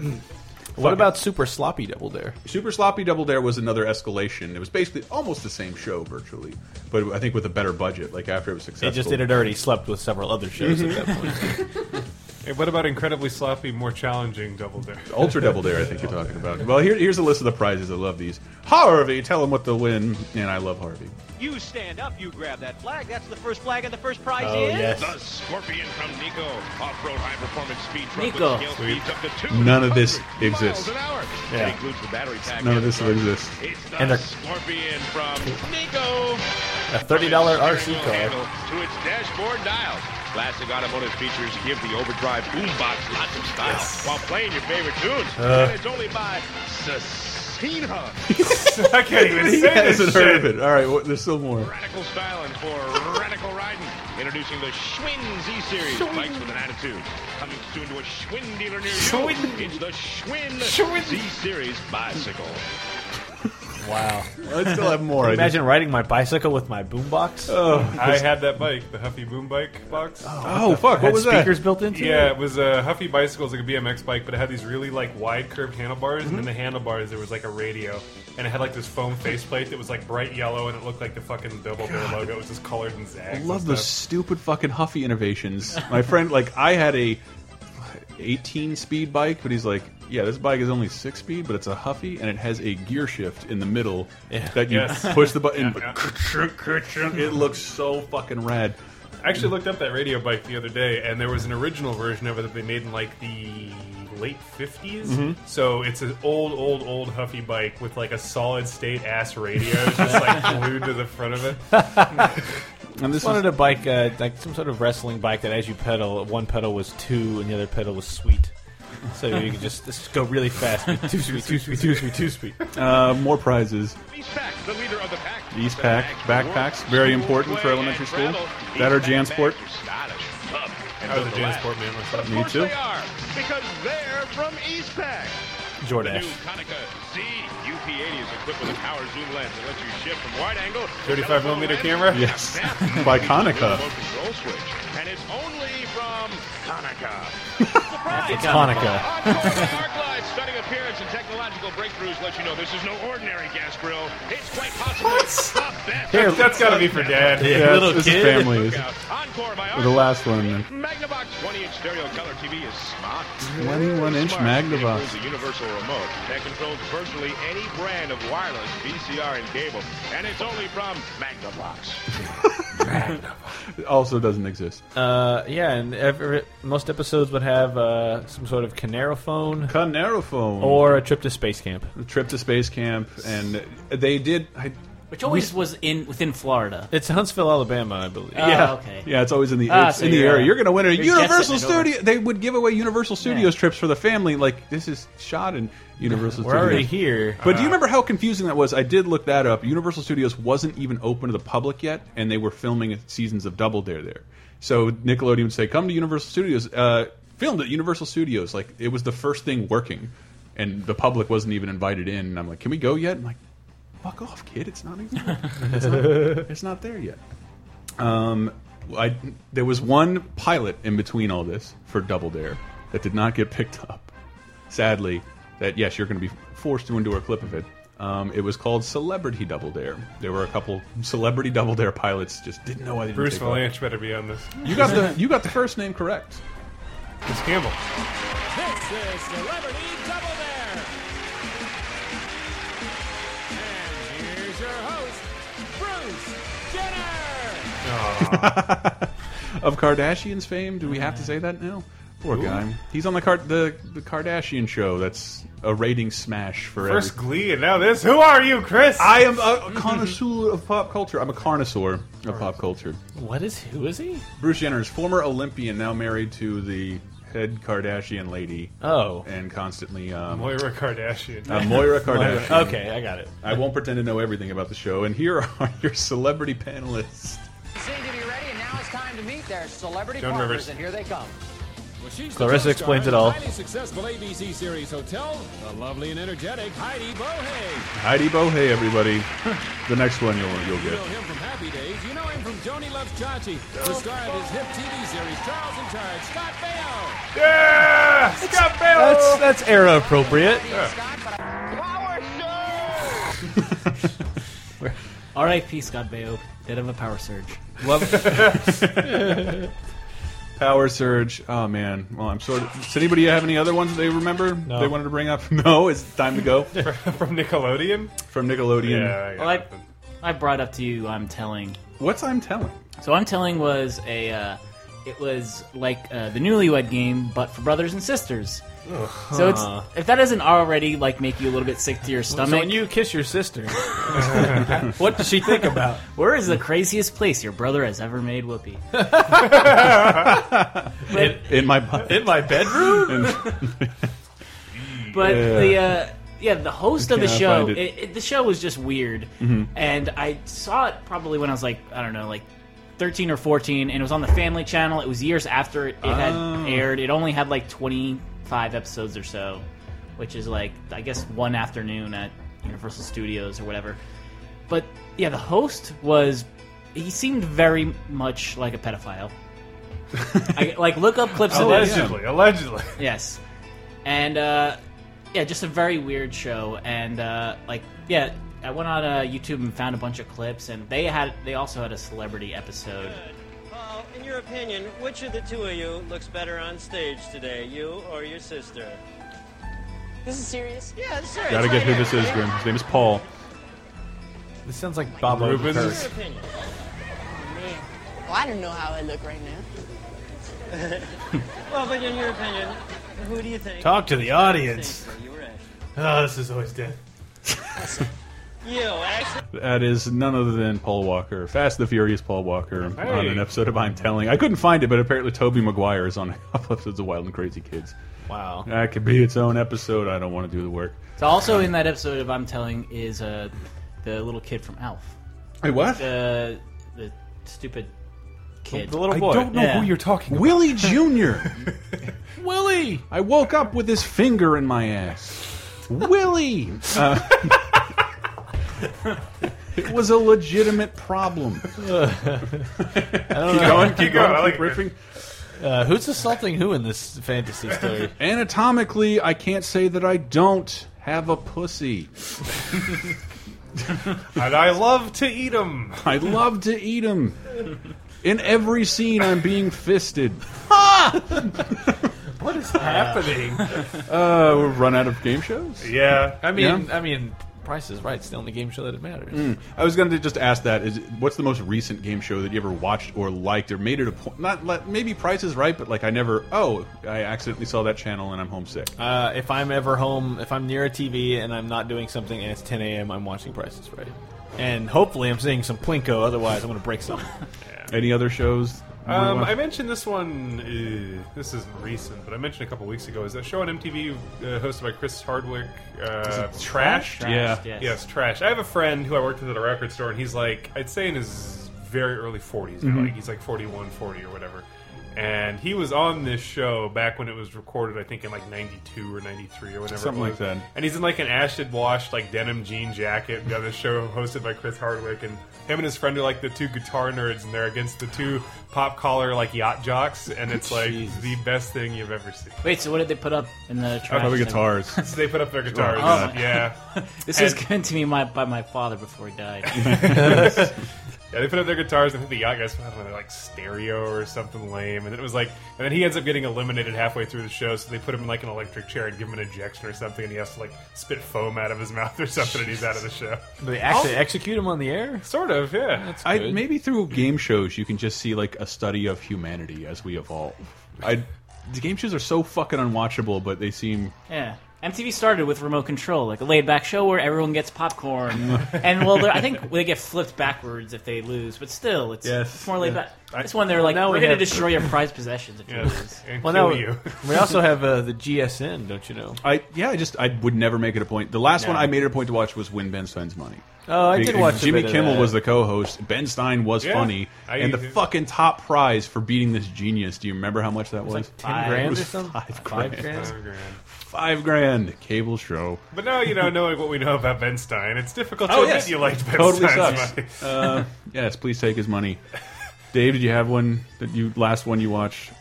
J: What about Super Sloppy Double Dare?
B: Super Sloppy Double Dare was another escalation. It was basically almost the same show virtually, but I think with a better budget. Like after it was successful,
D: It just it had already slept with several other shows at [LAUGHS] that point.
C: Hey, what about incredibly sloppy, more challenging double dare?
B: [LAUGHS] Ultra Double Dare, I think you're talking about. Well, here, here's a list of the prizes. I love these. Harvey, tell him what to win, and I love Harvey.
K: You stand up, you grab that flag. That's the first flag, and the first prize
B: Oh,
K: is.
B: yes.
K: The Scorpion from Nico. Off road high performance speed truck
B: Nico.
K: with scale
B: Sweet.
K: speeds up to two.
B: None of this exists.
K: An hour.
B: Yeah.
K: That includes the battery pack.
B: None of
K: and
B: this
K: the
B: will
K: truck.
B: exist.
K: It's the
B: And a-
K: Scorpion from Nico.
D: A thirty dollar RC
K: Steering wheel
D: car.
K: handle To its dashboard dial. Classic automotive features give the overdrive boombox lots of style while playing your favorite tunes.
B: Uh.
K: and it's only by Cecina.
C: I can't [LAUGHS] even say
B: He
C: this
B: hasn't
C: shit.
B: heard of it. All right, well, there's still more.
K: Radical styling for radical riding. Introducing the Schwinn Z Series. Bikes with an attitude. Coming soon to a Schwinn dealer near you. It's the Schwinn, Z Series bicycle.
D: Wow.
K: Let's still have more.
D: Imagine riding my bicycle with my boombox.
C: I had that bike, the Huffy Boom Bike box.
D: Oh, what the- fuck, what had was that? speakers built into
C: yeah,
D: it?
C: it was a Huffy bicycle, it was like a BMX bike, but it had these really like wide curved handlebars, and in the handlebars there was like a radio, and it had like this foam faceplate that was like bright yellow, and it looked like the fucking Double Bear logo. It was just colored in zags.
B: I
C: and
B: love those stupid fucking Huffy innovations. My friend, like, I had a 18 speed bike, but he's like, yeah, this bike is only six speed, but it's a Huffy, and it has a gear shift in the middle that you
C: Yes.
B: push the button.
C: Yeah,
B: It looks so fucking rad.
C: I actually looked up that radio bike the other day, and there was an original version of it that they made in like the late 50s.
B: Mhm.
C: So it's an old, old, old Huffy bike with like a solid state ass radio just like glued to the front of it.
D: I
C: this
D: just wanted a bike, uh, like some sort of wrestling bike that as you pedal, one pedal was two and the other pedal was sweet. So you could just, just go really fast. be
K: [LAUGHS]
D: Too sweet, too sweet, too sweet, too sweet.
B: Uh, more prizes.
K: The leader of the pack.
B: These pack backpacks, very important for elementary school. That are JanSport.
C: I was a Jan Sport man myself.
B: Me too.
K: Because they're from East Pack. The
D: Jordash.
K: new Konica Z UP80 is equipped with a power zoom lens that lets you shift from wide angle.
C: 35 millimeter camera?
B: Yes. By Konica.
K: Remote control switch, and it's only from Konica.
D: It's Hanukkah.
K: Arclight's stunning appearance and technological breakthroughs let you know this is no ordinary gas grill. It's quite possible. the best.
C: Here, [LAUGHS] that's gotta be for dad.
B: Yeah,
C: Yeah, little
B: this is
C: kid.
B: family.
K: Encore by
B: The last one.
K: Magnavox 20-inch stereo color TV is smart.
B: 21-inch
K: Smart.
B: Magnavox.
K: It includes a universal remote that controls virtually any brand of wireless, VCR, and cable, and it's only from Magnavox.
B: Also doesn't exist.
D: Uh, yeah, and every, most episodes would have uh, some sort of Canarophone.
B: Canarophone.
C: Oh,
D: Or a trip to space camp.
B: A trip to space camp, and they did. I,
E: Which always was in within Florida.
D: It's Huntsville, Alabama, I believe.
E: Oh,
B: yeah,
E: okay.
B: yeah, it's always in the
E: Ah,
B: it's
E: so
B: in the
E: you're,
B: area.
E: uh,
B: You're going to win a
E: you're
B: Universal
E: guessing it over.
B: Studio. They would give away Universal Studios trips for the family. Like this is shot in Universal.
D: We're
B: Studios.
D: already here.
B: But do
E: Uh,
B: you remember how confusing that was? I did look that up. Universal Studios wasn't even open to the public yet, and they were filming seasons of Double Dare there. So Nickelodeon would say, "Come to Universal Studios." Uh, filmed at Universal Studios, like it was the first thing working, and the public wasn't even invited in. And I'm like, "Can we go yet?" I'm like, "Fuck off, kid! It's not even.
E: [LAUGHS]
B: It's not, it's not there yet." Um, I, there was one pilot in between all this for Double Dare that did not get picked up. Sadly, that yes, you're going to be forced to endure a clip of it. Um, it was called Celebrity Double Dare. There were a couple celebrity Double Dare pilots just didn't know why they didn't
C: Bruce
B: take off.
C: Valanche better be on this.
B: You got the you got the first name correct.
C: It's Campbell.
K: this is Celebrity Double Dare. And here's your host, Bruce Jenner.
B: of Kardashian's fame. Do we have to say that now? Poor
C: Ooh.
B: guy. He's on the Card the, the Kardashian show. That's a rating smash for every-
C: First Glee, and now this. Who are you, Chris?
B: I am a connoisseur of pop culture. I'm a connoisseur of pop culture.
D: What is who is he?
B: Bruce Jenner is former Olympian, now married to the head Kardashian lady.
D: Oh.
B: and constantly um,
C: Moira Kardashian.
B: [LAUGHS] Uh, Moira Kardashian.
D: [LAUGHS] Moira. Okay, I got it.
B: I won't pretend to know everything about the show. And here are [LAUGHS] your celebrity panelists.
L: Seem to be ready, and now it's time to meet their celebrity
B: Joan
L: partners,
B: Rivers.
L: and here they come.
D: Clarissa explains it all.
L: Highly successful ABC series hotel, the lovely and energetic Heidi Bohe.
B: Heidi Bohe, everybody. [LAUGHS] The next one you'll you'll
L: You
B: get.
L: know him from Happy Days. You know him from Joni Loves Chachi, the star of his hip TV series Charles in Charge. Scott Baio.
C: Yeah, Scott
D: That's that's era appropriate.
E: R.I.P. Scott Baio, dead of a power surge.
D: [LAUGHS]
B: Power Surge. Oh man. Well, I'm sort of. Does anybody have any other ones they remember?
C: No.
B: They wanted to bring up. [LAUGHS] No, it's time to
D: [LAUGHS]
B: go
C: [LAUGHS] from Nickelodeon.
B: from Nickelodeon.
E: Well, I, I brought up to you. I'm telling.
B: What's I'm telling?
E: So I'm telling was a. Uh, it was like uh, the Newlywed Game, but for brothers and sisters. So it's
D: Huh.
E: if that doesn't already like make you a little bit sick to your stomach.
D: Uh-huh. So when you kiss your sister, what does she think about?
E: Where is the craziest place your brother has ever made
D: [LAUGHS]
E: whoopee? [LAUGHS]
B: In, in my bu-
D: In my
B: [LAUGHS]
D: bedroom?
B: in-
E: But
B: Yeah.
E: the uh, yeah, the host of the
B: Can't
E: show,
B: find it.
E: it. it- the show was just weird,
B: Mhm.
E: and I saw it probably when I was like I don't know, like thirteen or fourteen, and it was on the Family Channel. It was years after it, it
B: Oh.
E: had aired. It only had like twenty five episodes or so, which is like I guess one afternoon at Universal Studios or whatever. But yeah, the host was he seemed very much like
B: [LAUGHS]
E: a pedophile. I, like look up clips
B: Oh,
E: of this.
C: Allegedly, allegedly.
E: Yes. And uh, yeah, just a very weird show. And uh, like yeah, I went on uh, YouTube and found a bunch of clips, and they had they also had a celebrity episode.
M: Paul, in your opinion, which of the two of you looks better on stage today, you or your sister? This is serious? Yeah, it's serious.
B: Gotta
M: It's
B: get
M: right
B: who this
M: here.
B: is, Grim. His name is Paul.
D: This sounds like Bob
B: Rubens.
M: In
D: Odenkirk.
M: your opinion.
N: Man, well, I don't know how I look right now.
M: [LAUGHS] well, but in your opinion, who do you think?
D: Talk to the audience.
M: You were Ashley.
D: Oh, this is always dead.
M: You, Ashley.
B: That is none other than Paul Walker, Fast and the Furious Paul Walker, on
M: Hey.
B: an episode of I'm Telling. I couldn't find it, but apparently Toby Maguire is on a couple [LAUGHS] episodes of Wild and Crazy Kids.
D: Wow.
B: That could be its own episode. I don't want to do the work.
E: So also in that episode of I'm Telling is uh, the little kid from Alf.
B: Hey, what?
E: The the stupid kid,
D: Oh,
B: The little I boy. don't know who
E: Yeah.
B: you're talking Willie Jr. Willie! I woke up with his finger in my ass. Willie! Uh, [LAUGHS] it was a legitimate problem.
D: don't
B: keep
D: know.
B: going,
D: [LAUGHS]
B: keep
D: Keep going,
B: going,
D: I like
B: keep
D: it.
B: riffing.
D: Uh, who's assaulting who in this fantasy story?
B: Anatomically, I can't say that I don't have a pussy.
C: [LAUGHS] and I love to eat them.
B: I love to eat them. In every scene, I'm being fisted.
D: What is happening?
B: Uh, we've run out of game shows.
D: I mean, I mean, Price is Right. It's the only game show that it matters.
B: Mm. I was going to just ask that: is what's the most recent game show that you ever watched or liked or made it a point? Not like, maybe Price is Right, but like I never. Oh, I accidentally saw that channel and I'm homesick.
D: Uh, if I'm ever home, if I'm near a TV and I'm not doing something and it's 10 a.m., I'm watching Price is Right. And hopefully I'm seeing some Plinko, otherwise I'm going to break something.
B: Any other shows?
C: Um, I mentioned this one. Uh, this isn't recent, but I mentioned a couple weeks ago. Is that show on MTV uh, hosted by Chris Hardwick? Uh,
B: Is it
C: trash?
B: Trashed? Yeah. Trashed, yes.
C: Yes. trash. I have a friend who I worked with at a record store, and he's like, I'd say in his very early 40s, now,
B: Mhm.
C: like he's like 41, 40 or whatever. And he was on this show back when it was recorded, I think in like '92 or '93 or whenever. it
B: Something like
C: was.
B: that.
C: And he's in like an acid washed like denim jean jacket. And got this show hosted by Chris Hardwick, and him and his friend are like the two guitar nerds, and they're against the two pop collar like yacht jocks, and it's like the best thing you've ever seen.
E: Wait, so what did they put up in the trash?
B: Probably
E: thing?
B: guitars.
C: [LAUGHS] So they put up their guitars.
E: Oh my-
C: yeah,
B: [LAUGHS]
C: [LAUGHS]
E: this
C: And-
E: was given to me my, by my father before he died.
C: yeah, they put up their guitars. and I think the yacht guys put on like stereo or something lame, and then it was like, and then he ends up getting eliminated halfway through the show. So they put him in like an electric chair and give him an injection or something, and he has to like spit foam out of his [LAUGHS] mouth or something, and he's out of the show.
D: They actually execute him on the air?
C: Sort of, yeah.
B: I, maybe through game shows you can just see like a study of humanity as we evolve. I the game shows are so fucking unwatchable, but they seem
E: Yeah. MTV started with remote control, like a laid back show where everyone
D: [LAUGHS]
E: gets popcorn. and, well, they're- I think they get flipped backwards if they lose, but still, it's,
B: Yes,
E: it's more laid
B: yeah.
E: back. That's when they're like,
D: Now
E: "We're
D: we
E: going to
D: have-
E: destroy
D: [LAUGHS]
E: your prized possessions if you lose."
D: now
C: [LAUGHS]
D: we also have uh, the GSN, don't you know?
B: I yeah, I just I would never make it a point. The last
D: No.
B: one I made it a point to watch was Win Ben Stein's Money.
D: Oh, I did
B: Because
D: watch a
B: Jimmy
D: bit of
B: Kimmel
D: that.
B: was the co-host. Ben Stein was
D: Yeah.
B: funny,
D: I-
B: and the fucking top prize for beating this genius. Do you remember how much that was?
D: like 10 Five. grand
B: It was
D: or something?
B: Five
D: Five
B: grand.
D: grand?
C: Five grand.
B: Five grand. Cable show.
C: But now you know, knowing what we know about Ben Stein, it's difficult to
B: Oh,
C: admit
B: yes.
C: you liked Ben
B: totally
C: Stein's
B: sucks.
C: money.
B: [LAUGHS] uh, yes, please take his money. Dave, did you have one that you last one you watched?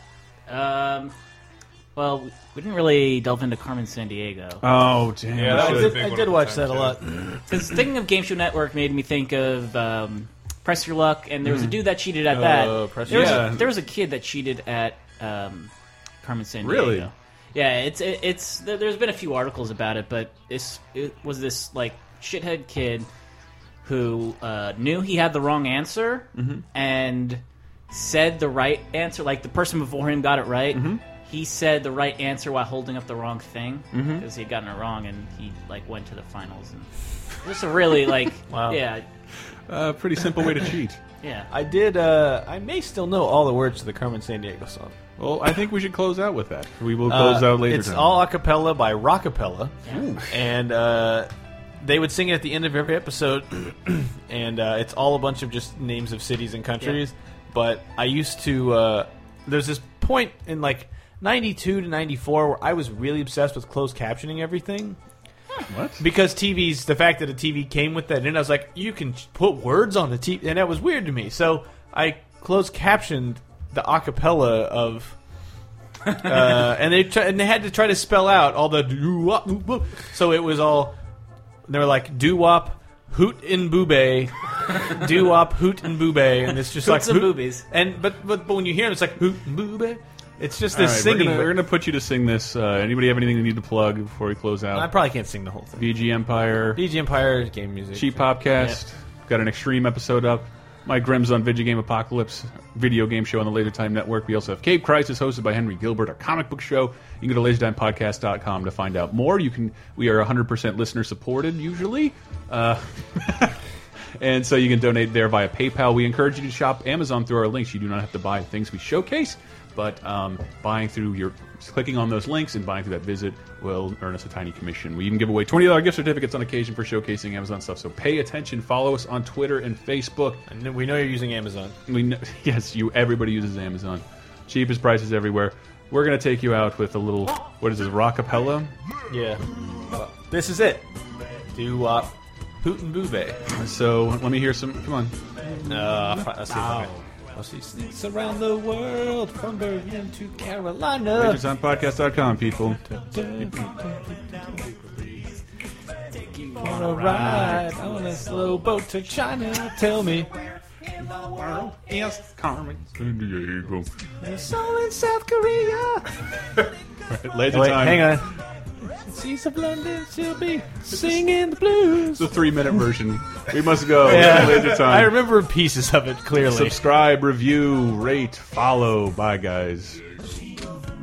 E: Um, well, we didn't really delve into Carmen San Diego.
D: Uh,
B: Oh, damn, Yeah, that I was a did- big I one did at the watch time, that a too. lot.
E: Because thinking of Game Show Network made me think of um, Press Your Luck, and there was a
D: Mm.
E: dude that cheated at
D: Uh,
E: that.
D: Press
E: there, was
D: Your Luck.
E: a, there was a kid that cheated at um, Carmen San Diego.
B: Really?
E: Yeah, it's it, it's there- there's been a few articles about it, but it's, it was this like shithead kid who uh, knew he had the wrong answer
D: Mm-hmm.
B: Mhm.
E: and said the right answer. Like the person before him got it right.
D: Mm-hmm.
E: He said the right answer while holding up the wrong thing because
D: Mm-hmm.
B: Mhm.
E: he had gotten it wrong, and he like went to the finals. And just a really like
D: [LAUGHS] Wow.
E: yeah
B: Uh, pretty simple way to
D: [LAUGHS]
B: cheat.
E: yeah.
D: I did. Uh, I may still know all the words to the Carmen San Diego song.
B: Well, I think we should close out with that. We will close out later.
D: Uh, It's
B: time.
D: all a cappella by Rockapella,
E: Ooh.
D: and uh, they would sing it at the end of every episode. [CLEARS THROAT] and uh, it's all a bunch of just names of cities and countries. But I used to. Uh, there's this point in like '92 to '94 where I was really obsessed with closed captioning everything.
B: What?
D: Because TVs, the fact that a TV came with that, and I was like, you can put words on the TV, and that was weird to me. So I closed captioned the acapella of, uh, and they try, and they had to try to spell out all the doo wop. woo woo. So it was all they were like doo wop. Hoot and boobay, doo wop, hoot and boobay, and it's just like
E: Hoots and
D: hoot-
E: boobies.
D: And but but but when you hear it, it's like hoot and boobay. It's just
B: All
D: this
B: right, We're
D: singing.
B: gonna,
D: but-
B: we're gonna put you to sing this. Uh, anybody have anything they need to plug before we close out?
D: I probably can't sing the whole thing.
B: VG Empire,
D: BG Empire game music.
B: Cheap Popcast. Got an extreme episode up. My Grimm's on Video Game Apocalypse, video game show on the Laser Time Network. We also have Cape Crisis, hosted by Henry Gilbert, a comic book show. You can go to lasertimepodcast.com to find out more. You can. We are 100% listener supported usually. Uh, [LAUGHS] And so you can donate there via PayPal. We encourage you to shop Amazon through our links. You do not have to buy things we showcase, but um, buying through your clicking on those links and buying through that visit will earn us a tiny commission. We even give away twenty dollars gift certificates on occasion for showcasing Amazon stuff. So pay attention. Follow us on Twitter and Facebook.
D: And we know you're using Amazon.
B: We know, [LAUGHS] yes, you. Everybody uses Amazon. Cheapest prices everywhere. We're gonna take you out with a little. What is this? Rockapella.
D: Yeah. Uh, This is it. Do wop, hoot and boobay.
B: So let me hear some. Come on.
D: Uh, let's see if I can- let's see. Sneaks around the world from Berlin to Carolina.
B: LaserTimePodcast.com, people.
D: On a ride on a slow boat to China. Tell me.
B: Yes, Carmen. San Diego.
D: So in South Korea.
B: Laser
D: Wait,
B: time.
D: hang on. She's of London, she'll be singing the blues.
B: the three minute version. We must go.
D: Yeah.
B: Laser time.
D: [LAUGHS] I remember pieces of it clearly.
B: Subscribe, review, rate, follow. Bye, guys.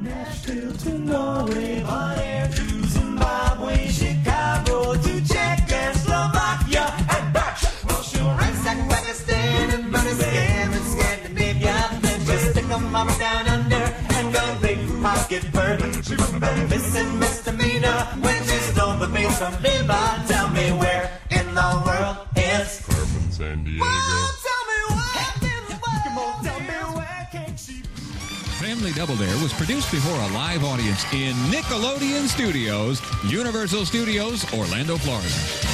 L: Nashville to Norway, Bosnia to Zimbabwe, Chicago to Czechoslovakia, and Dutch, Russia, ransack Pakistan, and Pakistan and Scandinavia. Then just stick 'em mama down under and go big pocket bird. She was a missing misdemeanor when she stole the meals from Lebanon. Tell me where in the world is
K: Urban San Diego.
O: Family Double Dare was produced before a live audience in Nickelodeon Studios, Universal Studios, Orlando, Florida.